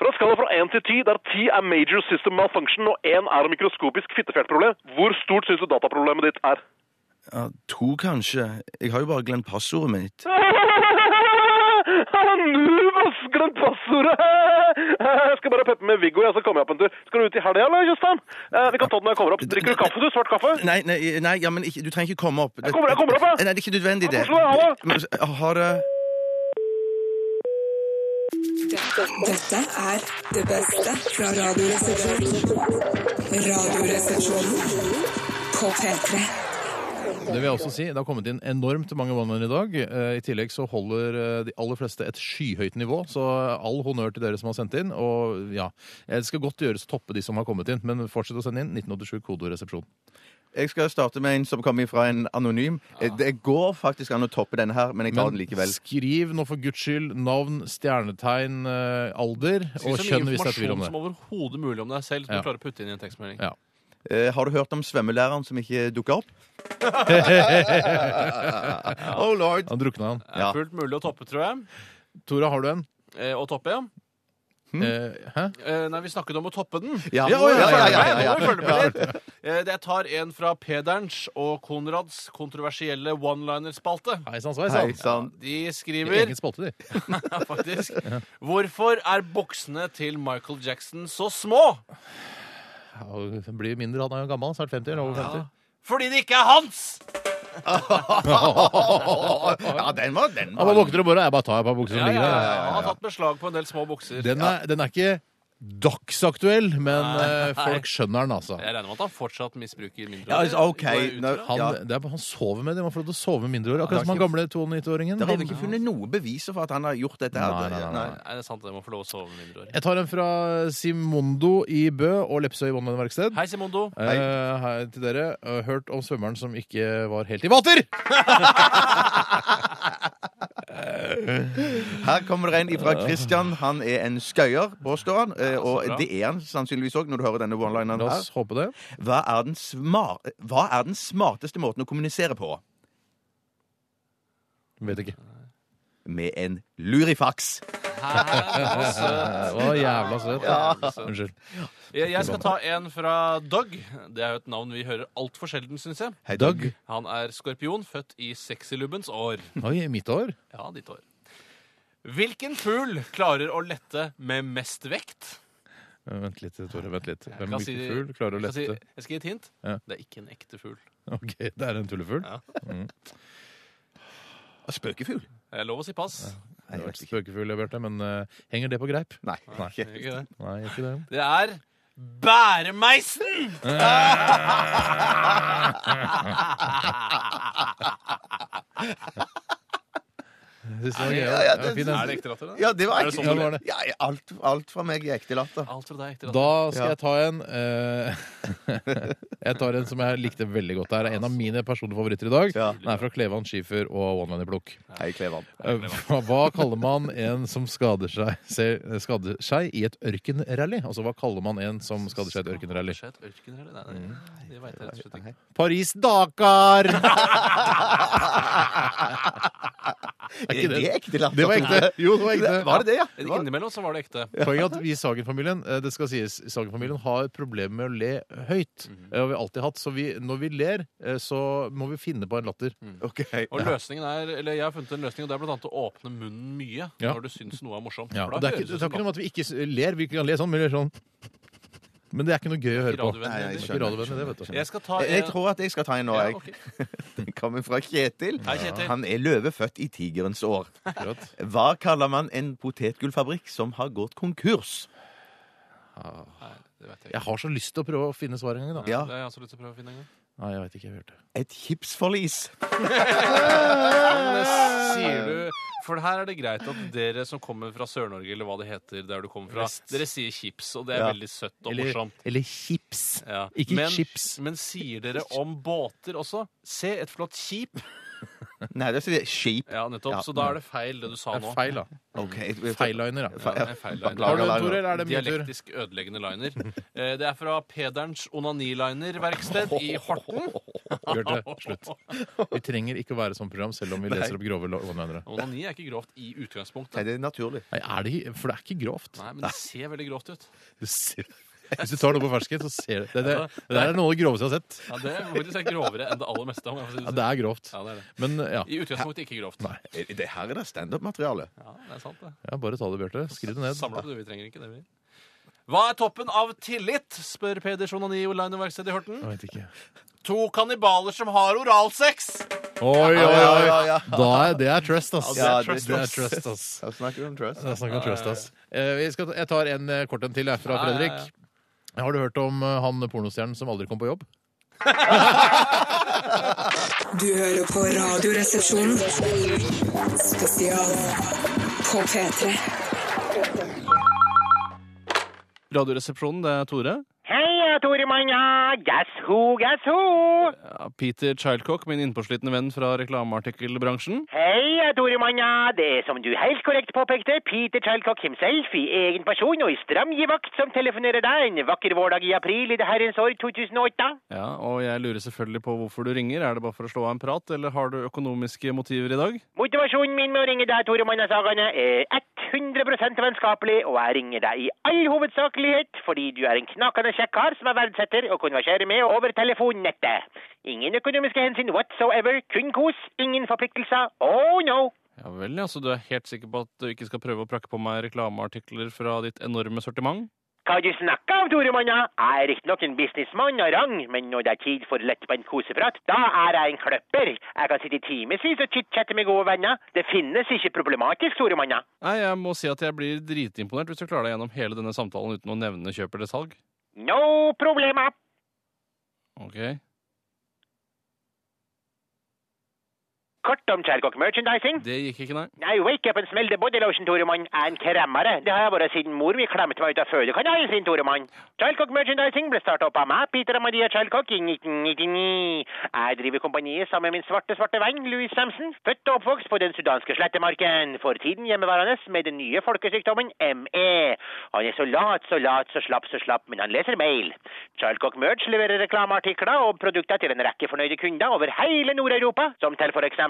[SPEAKER 6] Fra en skala fra 1 til 10, der 10 er major system malfunction og 1 er mikroskopisk fittefjertproblem, hvor stort syns du dataproblemet ditt er?
[SPEAKER 4] Ja, to, kanskje. Jeg har jo bare glemt passordet mitt.
[SPEAKER 6] Nubas, glemt passordet! Jeg skal bare peppe med Viggo, jeg, så kommer jeg opp en tur. Skal du ut i helga, eller, Kjøstheim? Eh, Vi kan ta det når jeg kommer opp. Drikker du kaffe, du? Svart kaffe?
[SPEAKER 4] Nei, nei, nei ja, men ikke, du trenger ikke komme opp.
[SPEAKER 6] Jeg kommer- jeg kommer opp, jeg.
[SPEAKER 4] Nei, det er ikke nødvendig, det.
[SPEAKER 6] Jeg må slå av, jeg.
[SPEAKER 4] Men, Ha det.
[SPEAKER 1] Dette, dette er det beste fra Radioresepsjonen. Radioresepsjonen på P3.
[SPEAKER 2] Det vil jeg også si. Det har kommet inn enormt mange one-man i dag. Eh, I tillegg så holder eh, de aller fleste et skyhøyt nivå, så all honnør til dere som har sendt inn. Og ja, eh, det skal godt gjøres å toppe de som har kommet inn, men fortsett å sende inn. 1987 kodoresepsjon.
[SPEAKER 4] Jeg skal starte med en som kommer fra en anonym. Eh, Det går faktisk an å toppe denne her, men jeg tar
[SPEAKER 2] Men
[SPEAKER 4] den likevel.
[SPEAKER 2] skriv nå for guds skyld navn, stjernetegn, eh, alder
[SPEAKER 3] Skriv
[SPEAKER 2] og
[SPEAKER 3] så
[SPEAKER 2] kjønn
[SPEAKER 3] mye
[SPEAKER 2] hvis det er tvil
[SPEAKER 3] informasjon
[SPEAKER 2] om det.
[SPEAKER 3] som overhodet mulig om deg selv, som
[SPEAKER 2] Ja.
[SPEAKER 3] du klarer å putte inn i en tekstmelding.
[SPEAKER 2] Ja.
[SPEAKER 4] Eh, Har du hørt om svømmelæreren som ikke dukka opp? Oh lord!
[SPEAKER 2] Han drukna, han.
[SPEAKER 4] Ja.
[SPEAKER 3] Fullt mulig å toppe, tror jeg.
[SPEAKER 2] Tora, har du en?
[SPEAKER 3] Eh, å toppe, ja.
[SPEAKER 2] Eh, hæ?
[SPEAKER 3] Eh, nei, vi snakket om å toppe den.
[SPEAKER 4] Hm? Ja,
[SPEAKER 3] Nå må
[SPEAKER 4] ja,
[SPEAKER 3] vi
[SPEAKER 4] ja,
[SPEAKER 3] følge
[SPEAKER 4] ja,
[SPEAKER 3] med,
[SPEAKER 4] ja,
[SPEAKER 3] nå må vi følge med litt. Eh, Jeg tar en fra Pederns og Konrads kontroversielle one-liner-spalte.
[SPEAKER 2] Hei sann, sveis
[SPEAKER 4] Hei
[SPEAKER 2] sann.
[SPEAKER 4] sann.
[SPEAKER 3] De skriver
[SPEAKER 2] Egen spalte, de.
[SPEAKER 3] faktisk Hvorfor er boksene til Michael Jackson så små?
[SPEAKER 2] Ja, han blir mindre, han er jo gammel. Snart 50, eller over 50.
[SPEAKER 3] Fordi det ikke er hans!
[SPEAKER 4] Ja, den var den.
[SPEAKER 2] Han bare
[SPEAKER 4] Var.
[SPEAKER 2] våkner om morgenen. Jeg bare tar et par bukser som
[SPEAKER 3] Ja, ja,
[SPEAKER 2] ligger
[SPEAKER 3] ja,
[SPEAKER 2] der.
[SPEAKER 3] ja. Han har tatt beslag på en del små bukser.
[SPEAKER 2] Den er, den er ikke dagsaktuell, men eh, folk skjønner den, altså.
[SPEAKER 3] Jeg regner med at han fortsatt misbruker mindre.
[SPEAKER 4] Ja, altså, OK. Nå,
[SPEAKER 2] Han,
[SPEAKER 4] ja.
[SPEAKER 2] det er, han sover med det. Man får lov til å sove med mindreårige. Akkurat som han
[SPEAKER 4] ikke-
[SPEAKER 2] gamle 92-åringen.
[SPEAKER 4] Der har vi ikke funnet noen beviser for at han har gjort dette. her.
[SPEAKER 2] Nei, nei, nei, nei.
[SPEAKER 3] Nei, det er sant, jeg må få lov å sove med mindreårige.
[SPEAKER 2] Jeg tar en fra Simondo i Bø og Lepsøy Vannverksted.
[SPEAKER 3] Hei, Simondo.
[SPEAKER 2] Hei. hei til dere. Eh, Hørt om svømmeren som ikke var helt i vater!
[SPEAKER 4] Her kommer det en ifra Christian. Han er en skøyer, påstår han. eh, Og det er han sannsynligvis òg, når du hører denne one-lineren
[SPEAKER 2] La oss
[SPEAKER 4] her.
[SPEAKER 2] håpe det.
[SPEAKER 4] Hva er, den smar Hva er den smarteste måten å kommunisere på?
[SPEAKER 2] Vet ikke.
[SPEAKER 4] Med en lurifaks.
[SPEAKER 2] Det var jævla søt. Unnskyld.
[SPEAKER 3] Jeg jeg skal ta en fra Doug. Det er jo et navn vi hører altfor sjelden, syns jeg.
[SPEAKER 2] Hei, Doug.
[SPEAKER 3] Han er skorpion, født i sexylubbens år.
[SPEAKER 2] Oi, mitt år.
[SPEAKER 3] Ja, ditt år. Hvilken fugl klarer å lette med mest vekt?
[SPEAKER 2] Eh, Vent litt, Tore. Vent litt. Hvem
[SPEAKER 3] kan
[SPEAKER 2] hvilken
[SPEAKER 3] si-
[SPEAKER 2] fugl klarer å
[SPEAKER 3] Jeg, skal
[SPEAKER 2] lette?
[SPEAKER 3] si, jeg skal gi et hint.
[SPEAKER 2] Ja.
[SPEAKER 3] Det er ikke en ekte fugl.
[SPEAKER 2] Ok, det er en tullefugl. Mm.
[SPEAKER 3] Ja.
[SPEAKER 4] Spøkefugl?
[SPEAKER 3] Det er lov å si pass.
[SPEAKER 2] Det har vært spøkefugl, Bjarte, men eh, henger det på greip?
[SPEAKER 4] Nei.
[SPEAKER 2] Nei,
[SPEAKER 3] Det er ikke det.
[SPEAKER 2] Nei ikke det.
[SPEAKER 3] Det er Bæremeisen!
[SPEAKER 2] Jeg synes det var gøy.
[SPEAKER 4] Ja, ja,
[SPEAKER 2] Det var
[SPEAKER 4] det-
[SPEAKER 2] fin,
[SPEAKER 3] Er
[SPEAKER 2] den.
[SPEAKER 3] det ekte latter, da?
[SPEAKER 4] Ja, det var
[SPEAKER 3] Er det
[SPEAKER 4] ekte.
[SPEAKER 3] sånn
[SPEAKER 2] det var det?
[SPEAKER 4] Ja, alt, alt fra meg i ekte latter.
[SPEAKER 3] Alt fra deg er ekte latter.
[SPEAKER 2] Da skal jeg ta en eh, Jeg tar en som jeg likte veldig godt. Det er en av mine personlige favoritter i dag.
[SPEAKER 4] Ja.
[SPEAKER 2] Den er fra Klevan Schiffer og One Man i Plukk.
[SPEAKER 4] Hei, Klevan.
[SPEAKER 2] Eh, Hva hva kaller man en som skader seg, se- skader seg i et ørkenrally? Altså, hva kaller man en som skader seg i et ørkenrally?
[SPEAKER 3] Skjøt ørkenrally? Nei,
[SPEAKER 2] Mm.
[SPEAKER 3] nei, nei, det vet jeg rett og slett ikke.
[SPEAKER 2] Paris-Dakar!
[SPEAKER 4] Er ikke det ekte latter?
[SPEAKER 2] Det var ekte. Jo, det var ekte.
[SPEAKER 4] Var det det, ja? Det var-
[SPEAKER 3] Innimellom så var det ekte.
[SPEAKER 2] Poenget er at vi i Sagen-familien eh, det skal sies, Sagen-familien har problemer med å le høyt.
[SPEAKER 3] Mhm.
[SPEAKER 2] Det har vi alltid hatt. Så vi, når vi ler, eh, så må vi finne på en latter.
[SPEAKER 4] Ok.
[SPEAKER 3] Mhm. Og løsningen er, eller Jeg har funnet en løsning, og det er blant annet å åpne munnen mye
[SPEAKER 2] Ja.
[SPEAKER 3] når du syns noe er morsomt.
[SPEAKER 2] Ja,
[SPEAKER 3] For
[SPEAKER 2] og
[SPEAKER 3] da
[SPEAKER 2] det er
[SPEAKER 3] høres
[SPEAKER 2] ikke, det
[SPEAKER 3] ut
[SPEAKER 2] er
[SPEAKER 3] som
[SPEAKER 2] ikke noe om at vi ikke s- ler. Vi kan le sånn, men vi ler sånn. Men det er ikke noe gøy å høre på.
[SPEAKER 3] radiovennlig.
[SPEAKER 4] Nei,
[SPEAKER 2] Det er
[SPEAKER 4] jeg
[SPEAKER 2] ikke radiovenn, det, vet du.
[SPEAKER 3] Jeg skal ta
[SPEAKER 4] Jeg, jeg tror at jeg skal ta en nå.
[SPEAKER 3] ja,
[SPEAKER 4] Jeg.
[SPEAKER 3] ok.
[SPEAKER 4] Den kommer fra Kjetil.
[SPEAKER 3] Hei, Kjetil.
[SPEAKER 4] Han er løve født i tigerens år.
[SPEAKER 2] Akkurat.
[SPEAKER 4] Hva kaller man en potetgullfabrikk som har gått konkurs?
[SPEAKER 3] Nei, det vet Ah. jeg ikke.
[SPEAKER 2] Jeg har så lyst til å prøve å finne svar en gang, da.
[SPEAKER 4] Ja,
[SPEAKER 3] Det har jeg også lyst til å prøve å finne en gang.
[SPEAKER 2] Nei, jeg vet ikke. Jeg hørte det.
[SPEAKER 4] et chipsforlis.
[SPEAKER 3] Men eh, sier du For her er det greit at dere som kommer fra Sør-Norge, eller hva det heter der du kommer fra, dere sier chips, og det er
[SPEAKER 4] Ja.
[SPEAKER 3] veldig søtt og
[SPEAKER 2] Eller,
[SPEAKER 3] morsomt.
[SPEAKER 2] eller chips.
[SPEAKER 3] Ja.
[SPEAKER 2] Ikke
[SPEAKER 3] men,
[SPEAKER 2] chips.
[SPEAKER 3] Men sier dere om båter også? Se, et flott skip.
[SPEAKER 4] Nei, det er skip.
[SPEAKER 3] Ja, nettopp.
[SPEAKER 4] Ja.
[SPEAKER 3] Så da er det feil, det du sa
[SPEAKER 2] Det
[SPEAKER 3] nå.
[SPEAKER 2] er feil, da.
[SPEAKER 4] Okay.
[SPEAKER 2] Feilliner, da.
[SPEAKER 3] Ja, det er feil liner.
[SPEAKER 2] Har du
[SPEAKER 4] Beklager,
[SPEAKER 2] en,
[SPEAKER 4] Liner.
[SPEAKER 2] Tore, eller er det min tur?
[SPEAKER 3] Dialektisk ødeleggende liner. Eh, Det er fra Pederens onaniliner-verksted i Horten.
[SPEAKER 2] Bjarte, slutt. Vi trenger ikke å være sånn program, selv om vi leser opp grove lo- one-linere.
[SPEAKER 3] Onani er ikke grovt i utgangspunktet.
[SPEAKER 4] Nei, det er naturlig.
[SPEAKER 2] Nei, er det, ikke- for det er ikke grovt.
[SPEAKER 3] Nei, men det ser veldig grovt ut.
[SPEAKER 2] Du ser- Hvis du tar noe på fersken, så ser du det. Det, det der er noe av det groveste jeg har sett.
[SPEAKER 3] Ja, det er faktisk grovere enn det aller meste. Om jeg får si
[SPEAKER 2] Ja,
[SPEAKER 3] det. sånn.
[SPEAKER 2] det er grovt.
[SPEAKER 3] Ja, det er det.
[SPEAKER 2] Men ja,
[SPEAKER 3] I utgangspunktet ikke grovt.
[SPEAKER 2] Nei.
[SPEAKER 4] Det her er da standup-materiale.
[SPEAKER 3] Ja, det er sant, det.
[SPEAKER 2] ja bare ta det, Bjarte. Skriv det ned.
[SPEAKER 3] Samle opp, du. Vi trenger ikke det. vi. Hva er toppen av tillit? spør Peders onaniliner-verksted i Horten.
[SPEAKER 2] Jeg vet ikke.
[SPEAKER 3] To kannibaler som har oralsex!
[SPEAKER 2] Oi, oi,
[SPEAKER 4] Ja,
[SPEAKER 2] oi!
[SPEAKER 4] ja, ja.
[SPEAKER 2] Da er, det er trust, ass.
[SPEAKER 4] Ja,
[SPEAKER 2] det,
[SPEAKER 4] det-
[SPEAKER 2] er trust, ass.
[SPEAKER 4] Da snakker vi om trust.
[SPEAKER 2] Det er snakk om trust, ass. Eh, vi skal, ta- jeg tar en eh, kort en til, jeg, fra
[SPEAKER 3] Ja, ja, ja.
[SPEAKER 2] Fredrik. Har du hørt om eh, han pornostjernen som aldri kom på jobb?
[SPEAKER 1] Du hører på Radioresepsjonen. Spesial på P3.
[SPEAKER 3] Radioresepsjonen, det er Tore.
[SPEAKER 9] Heia, Tore Manja! Guess who, guess who?
[SPEAKER 3] Ja, Peter Childcock, min innpåslitne venn fra reklameartikkelbransjen.
[SPEAKER 9] Heia, Tore Manja! Det er som du helt korrekt påpekte, Peter Childcock himself i egen person og i stram givakt som telefonerer deg en vakker vårdag i april i det herrens år 2008.
[SPEAKER 3] Ja, og jeg lurer selvfølgelig på hvorfor du ringer. Er det bare for å slå av en prat, eller har du økonomiske motiver i dag?
[SPEAKER 9] Motivasjonen min med å ringe deg, Tore Manja Sagane, er 100 vennskapelig, og jeg ringer deg i all hovedsakelighet fordi du er en knakende kjekk kar som jeg verdsetter og konverserer med over telefonnettet. Ingen økonomiske hensyn whatsoever, kun kos, ingen forpliktelser, oh no!
[SPEAKER 3] Ja vel, ja, så du er helt sikker på at du ikke skal prøve å prakke på meg reklameartikler fra ditt enorme sortiment?
[SPEAKER 9] Hva du snakker om, Tore Manna? Jeg er riktignok en businessmann av rang, men når det er tid for lettbeint koseprat, da er jeg en kløpper. Jeg kan sitte i timevis og chit-chatte med gode venner. Det finnes ikke problematisk, Tore Manna.
[SPEAKER 3] Nei, jeg må si at jeg blir dritimponert hvis du klarer deg gjennom hele denne samtalen uten å nevne kjøp eller salg.
[SPEAKER 9] No problema.
[SPEAKER 3] Ok.
[SPEAKER 9] Kort om Kjærgård Merchandising.
[SPEAKER 3] Det gikk ikke, nei.
[SPEAKER 9] Nei, wake up and smell the body lotion, Tore Mann. Jeg er en kremmere. Det har jeg vært siden mor mi klemte meg ut av fødekanalen sin, Tore Mann. Childcock Merchandising ble starta opp av meg, Peter og Maria Childcock, i 1999. Jeg driver kompaniet sammen med min svarte, svarte venn, Louis Samson. Født og oppvokst på den sudanske slettemarken. For tiden hjemmeværende med den nye folkesykdommen ME. Han er så lat, så lat, så slapp, så slapp, men han leser mail. Childcock Merch leverer reklameartikler og produkter til en rekke fornøyde kunder over hele Nord-Europa, som til for eksempel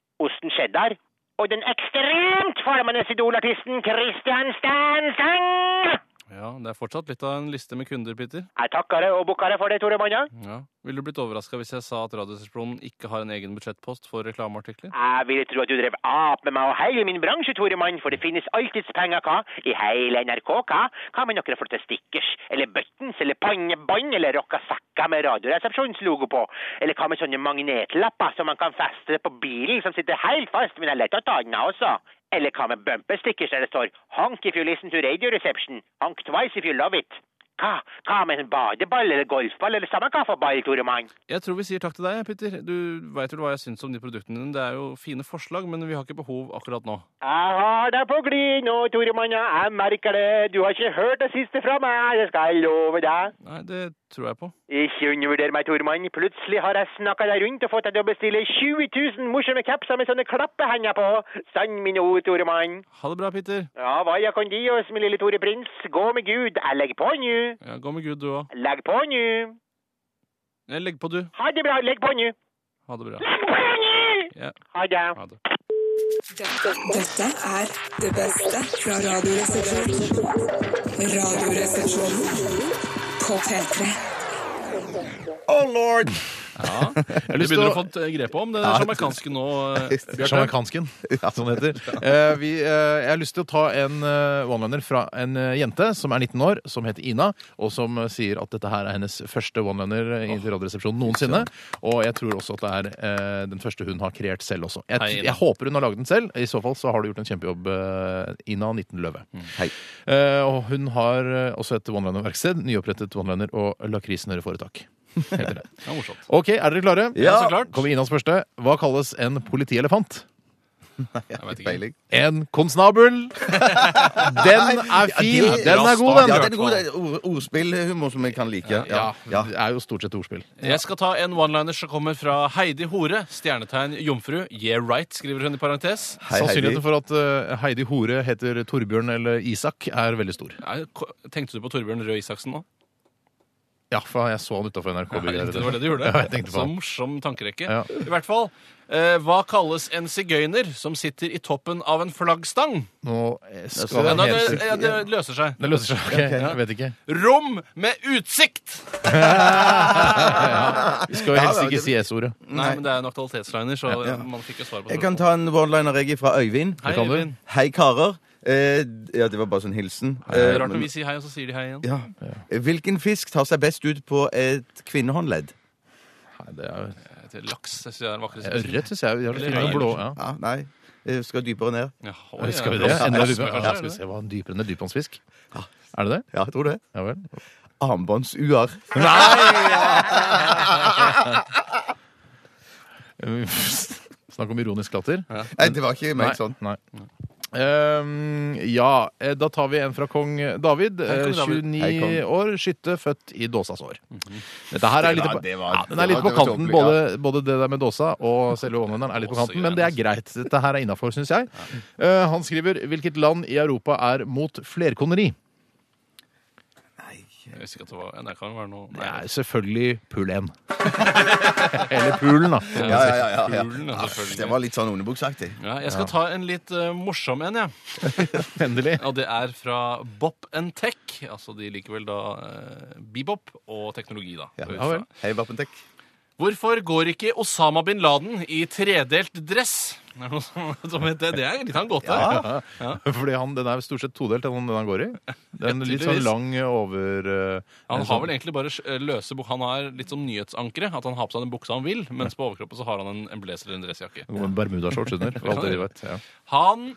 [SPEAKER 9] Osten Cheddar og den ekstremt formandes idolartisten Christian Stenseng!
[SPEAKER 3] Ja, Det er fortsatt litt av en liste med kunder, Peter.
[SPEAKER 9] Jeg takker deg og bukker deg for det, Tore Manna.
[SPEAKER 3] Ja. Ville du blitt overraska hvis jeg sa at Radioresepsjonen ikke har en egen budsjettpost for reklameartikler?
[SPEAKER 9] Jeg ville tro at du drev ap med meg og hele min bransje, Tore Mann, for det finnes alltids penger, hva? I hele NRK, hva? Hva med noen flotte stickers, eller buttons, eller pannebånd, eller rocka sekker med radioresepsjonslogo på? Eller hva med sånne magnetlapper som man kan feste på bilen, som sitter helt fast, men det er lett å ta den av også? Eller hva med bumperstickers der det står «Honk if you listen to radio reception», «Honk twice if you love it». Hva? Hva med en badeball, eller golfball, eller samme hva for ball, Tore Mann?
[SPEAKER 3] Jeg tror vi sier takk til deg, Peter. Du veit vel hva jeg syns om de produktene dine. Det er jo fine forslag, men vi har ikke behov akkurat nå.
[SPEAKER 9] Jeg har deg på glid nå, Tore Mann. ja. Jeg merker det. Du har ikke hørt det siste fra meg, det skal jeg love deg.
[SPEAKER 3] Nei, det tror jeg på.
[SPEAKER 9] Ikke undervurder meg, Tore Mann. Plutselig har jeg snakka deg rundt og fått deg til å bestille 20 000 morsomme kapser med sånne klappehender på. Sann mine ord, Tore Mann.
[SPEAKER 3] Ha det bra, Peter.
[SPEAKER 9] Ja, hva jeg kan gi oss, min lille Tore Prins. Gå med Gud. Jeg legger på nå.
[SPEAKER 3] Ja, Gå med Gud, du òg.
[SPEAKER 9] Legg på nå.
[SPEAKER 3] Legg på, du.
[SPEAKER 9] Ha det bra. Legg på nå.
[SPEAKER 3] Ha det bra.
[SPEAKER 9] Legg på nå!
[SPEAKER 3] Ja.
[SPEAKER 9] Ha det.
[SPEAKER 3] Ha det.
[SPEAKER 1] Dette, dette er det beste fra Radioresepsjonen. Radioresepsjonen på P3.
[SPEAKER 2] Oh lord!
[SPEAKER 3] Du begynner å få t- grep om det sjamarkanske nå. eh, Bjarte.
[SPEAKER 2] Sjamaikansken, som det heter. Eh, vi, eh, jeg har lyst til å ta en eh, one-liner fra en eh, jente som er 19 år, som heter Ina, og som eh, sier at dette her er hennes første one-liner i Radioresepsjonen noensinne. Og jeg tror også at det er eh, den første hun har kreert selv også. Jeg,
[SPEAKER 3] Hei,
[SPEAKER 2] t-
[SPEAKER 3] Ina.
[SPEAKER 2] jeg håper hun har lagd den selv. I så fall så har du gjort en kjempejobb, eh, Ina 19 Løve.
[SPEAKER 3] Mm.
[SPEAKER 4] Hei.
[SPEAKER 2] Eh, og hun har eh, også et one-liner-verksted, nyopprettet one-liner og lakrisnøreforetak. Heter det.
[SPEAKER 3] Ja, morsomt.
[SPEAKER 2] OK, er dere klare?
[SPEAKER 4] Ja.
[SPEAKER 3] så klart.
[SPEAKER 2] Kommer Inas første. Hva kalles en politielefant?
[SPEAKER 3] Jeg vet ikke.
[SPEAKER 4] Peiling.
[SPEAKER 2] En konsnabel. Den er fin.
[SPEAKER 4] Ja, det er
[SPEAKER 2] Den
[SPEAKER 3] bra
[SPEAKER 2] er god,
[SPEAKER 3] start,
[SPEAKER 2] den.
[SPEAKER 4] Ja, det er god det er ord- ordspillhumor som jeg kan like. Ja.
[SPEAKER 2] Ja, det er jo stort sett ordspill.
[SPEAKER 3] Jeg skal ta en one-liner som kommer fra Heidi Hore, stjernetegn jomfru. Yeah right, skriver hun i parentes.
[SPEAKER 4] Hei, Heidi.
[SPEAKER 2] Sannsynligheten for at eh, Heidi Hore heter Torbjørn eller Isak, er veldig stor.
[SPEAKER 3] Nei, ko- Tenkte du på Torbjørn Røe Isaksen nå?
[SPEAKER 2] Ja, for jeg så han utafor
[SPEAKER 3] Ja,
[SPEAKER 2] NRK-bygget.
[SPEAKER 3] det var det du gjorde.
[SPEAKER 2] Ja, jeg tenkte på
[SPEAKER 3] så
[SPEAKER 2] han.
[SPEAKER 3] morsom tankerekke.
[SPEAKER 2] Ja.
[SPEAKER 3] I hvert fall. Eh, hva kalles en sigøyner som sitter i toppen av en flaggstang?
[SPEAKER 2] Nå eh,
[SPEAKER 4] skal
[SPEAKER 2] skal
[SPEAKER 3] Ja,
[SPEAKER 2] han
[SPEAKER 3] det,
[SPEAKER 2] helt
[SPEAKER 3] det, ja, det løser seg.
[SPEAKER 2] Det løser seg. ok, Jeg vet ikke.
[SPEAKER 3] Rom med utsikt!
[SPEAKER 2] Ja, vi skal jo helst ikke si S-ordet.
[SPEAKER 3] Nei, men det er en aktualitetsliner, så man fikk jo svar på
[SPEAKER 4] Jeg kan ta en one-liner jeg fra Øyvind.
[SPEAKER 3] Hei,
[SPEAKER 2] kan du.
[SPEAKER 3] Øyvind.
[SPEAKER 4] Hei, karer. Eh, ja, det var bare sånn hilsen.
[SPEAKER 3] Det
[SPEAKER 4] Eh,
[SPEAKER 3] er rart
[SPEAKER 4] men-
[SPEAKER 3] når vi sier hei, og så sier de hei igjen.
[SPEAKER 4] ja. Eh, Hvilken fisk tar seg best ut på et kvinnehåndledd?
[SPEAKER 2] Nei, det er jo-
[SPEAKER 3] Jeg heter Laks. Jeg synes det er den vakreste
[SPEAKER 2] Ørret syns jeg. De har litt
[SPEAKER 3] Eller
[SPEAKER 2] fine
[SPEAKER 3] rein.
[SPEAKER 2] blå. Ja.
[SPEAKER 4] Ja, nei. Eh, Skal dypere ned.
[SPEAKER 3] Ja, oi,
[SPEAKER 2] Skal vi
[SPEAKER 3] ja,
[SPEAKER 2] det? Enda
[SPEAKER 3] blås-
[SPEAKER 2] dypere?
[SPEAKER 3] blås-
[SPEAKER 2] Ja, skal vi se hva dypere enn dypvannsfisk. Er det det?
[SPEAKER 4] Ja, jeg tror det.
[SPEAKER 2] Ja vel.
[SPEAKER 4] Armbåndsuer.
[SPEAKER 2] Snakk om ironisk latter.
[SPEAKER 4] Nei, det var ikke
[SPEAKER 2] Nei,
[SPEAKER 4] ment sånn.
[SPEAKER 2] Nei. Ehm, ja, eh, da tar vi en fra kong David. eh,
[SPEAKER 3] kong David.
[SPEAKER 2] 29
[SPEAKER 4] Hei, kong.
[SPEAKER 2] år, skytte, født i dåsas år. Dette her er litt
[SPEAKER 4] var-
[SPEAKER 2] på,
[SPEAKER 4] det var-
[SPEAKER 2] ja, den
[SPEAKER 4] det
[SPEAKER 2] er litt
[SPEAKER 4] var-
[SPEAKER 2] på
[SPEAKER 4] det var
[SPEAKER 2] kanten.
[SPEAKER 4] tåpelig,
[SPEAKER 2] Både, både det der med dåsa og selve one-lineren er litt på
[SPEAKER 3] Dåsegreiene,
[SPEAKER 2] kanten, men det er greit. Dette her er innafor, syns jeg. Eh, han skriver 'Hvilket land i Europa er mot flerkoneri?'
[SPEAKER 3] Jeg visste ikke at det var ja, Det kan jo være noe
[SPEAKER 2] Det
[SPEAKER 3] Nei,
[SPEAKER 2] er selvfølgelig Pool 1. Eller Poolen, da.
[SPEAKER 4] Ja, ja, ja, ja, ja.
[SPEAKER 3] Fuglen, ja,
[SPEAKER 4] Det
[SPEAKER 3] selvfølgelig.
[SPEAKER 4] var litt sånn underbuksaktig.
[SPEAKER 3] Ja, jeg skal ta en litt eh, morsom en, jeg.
[SPEAKER 2] Endelig.
[SPEAKER 3] Og det er fra Bop and Tech. Altså de liker vel da eh, bebop og teknologi, da. går jeg ut fra.
[SPEAKER 2] Ja vel.
[SPEAKER 4] Hei, Vappentek.
[SPEAKER 3] Hvorfor går ikke Osama bin Laden i tredelt dress? Er det noe som- som heter Det Det er litt av en gåte.
[SPEAKER 2] Fordi han, den er stort sett todelt, den, den han går i. Den
[SPEAKER 3] Ja,
[SPEAKER 2] litt sånn
[SPEAKER 3] tydeligvis.
[SPEAKER 2] lang over eh,
[SPEAKER 3] Han
[SPEAKER 2] en
[SPEAKER 3] har
[SPEAKER 2] sånn-
[SPEAKER 3] vel egentlig bare eh, løse bukser. Han er litt som nyhetsankeret. At han har på seg den buksa han vil, mens på overkroppen så har han en, en blazer eller en dressjakke.
[SPEAKER 2] Noen Bermudashorts under, for alt det vi vet. Ja.
[SPEAKER 3] Han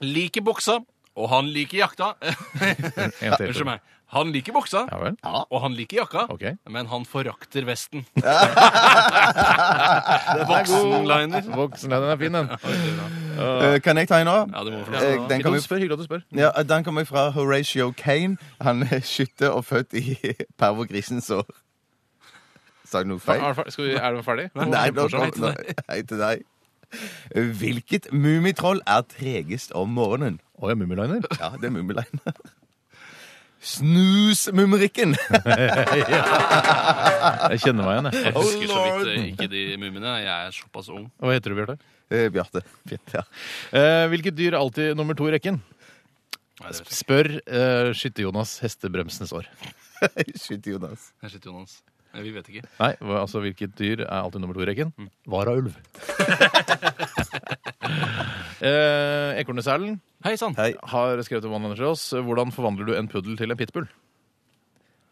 [SPEAKER 3] liker buksa, og han liker jakta.
[SPEAKER 2] En til.
[SPEAKER 3] Unnskyld meg. Han liker buksa,
[SPEAKER 2] Ja vel?
[SPEAKER 3] og han liker jakka,
[SPEAKER 2] Ok.
[SPEAKER 3] men han forakter vesten. Voksenliner.
[SPEAKER 2] Voksen, nei, den er fin, den.
[SPEAKER 4] Eh, Kan jeg ta en nå?
[SPEAKER 3] Ja, det må vi få lov til.
[SPEAKER 4] Eh, Den
[SPEAKER 5] Hyggelig at
[SPEAKER 4] kommer
[SPEAKER 5] du spør, hyggelig at du spør.
[SPEAKER 4] ja, eh, den kommer fra Horatio Kane. Han er skytter og født i pervogrisens år. Sa jeg noe feil?
[SPEAKER 5] Er, det fer- skal vi, er du ferdig?
[SPEAKER 4] Nei, nå, nå, hei til deg. Hvilket mummitroll er tregest om morgenen?
[SPEAKER 2] Å ja, Mummiliner.
[SPEAKER 4] Ja, det er Mummiliner. Snusmumrikken!
[SPEAKER 2] Jeg kjenner meg igjen, jeg.
[SPEAKER 3] Jeg husker så
[SPEAKER 4] lord.
[SPEAKER 3] vidt eh, ikke de mumiene. Jeg er såpass ung.
[SPEAKER 2] Hva heter du, Bjarte?
[SPEAKER 4] Eh, Bjarte. Fint, ja.
[SPEAKER 2] Eh, hvilket dyr er alltid nummer to i rekken?
[SPEAKER 3] Nei, det vet jeg ikke.
[SPEAKER 2] Spør eh, Skytter-Jonas Hestebremsens år.
[SPEAKER 4] Skyt, Jonas.
[SPEAKER 3] Jeg sitter, Jonas. Eh, Vi vet ikke.
[SPEAKER 2] Nei, hva- altså hvilket dyr er alltid nummer to i rekken?
[SPEAKER 3] Mm.
[SPEAKER 2] Varaulv. eh, Ekornesælen
[SPEAKER 3] Hei sann!
[SPEAKER 4] Hei.
[SPEAKER 2] har skrevet om Anders Ross. Hvordan forvandler du en puddel til en pitbull?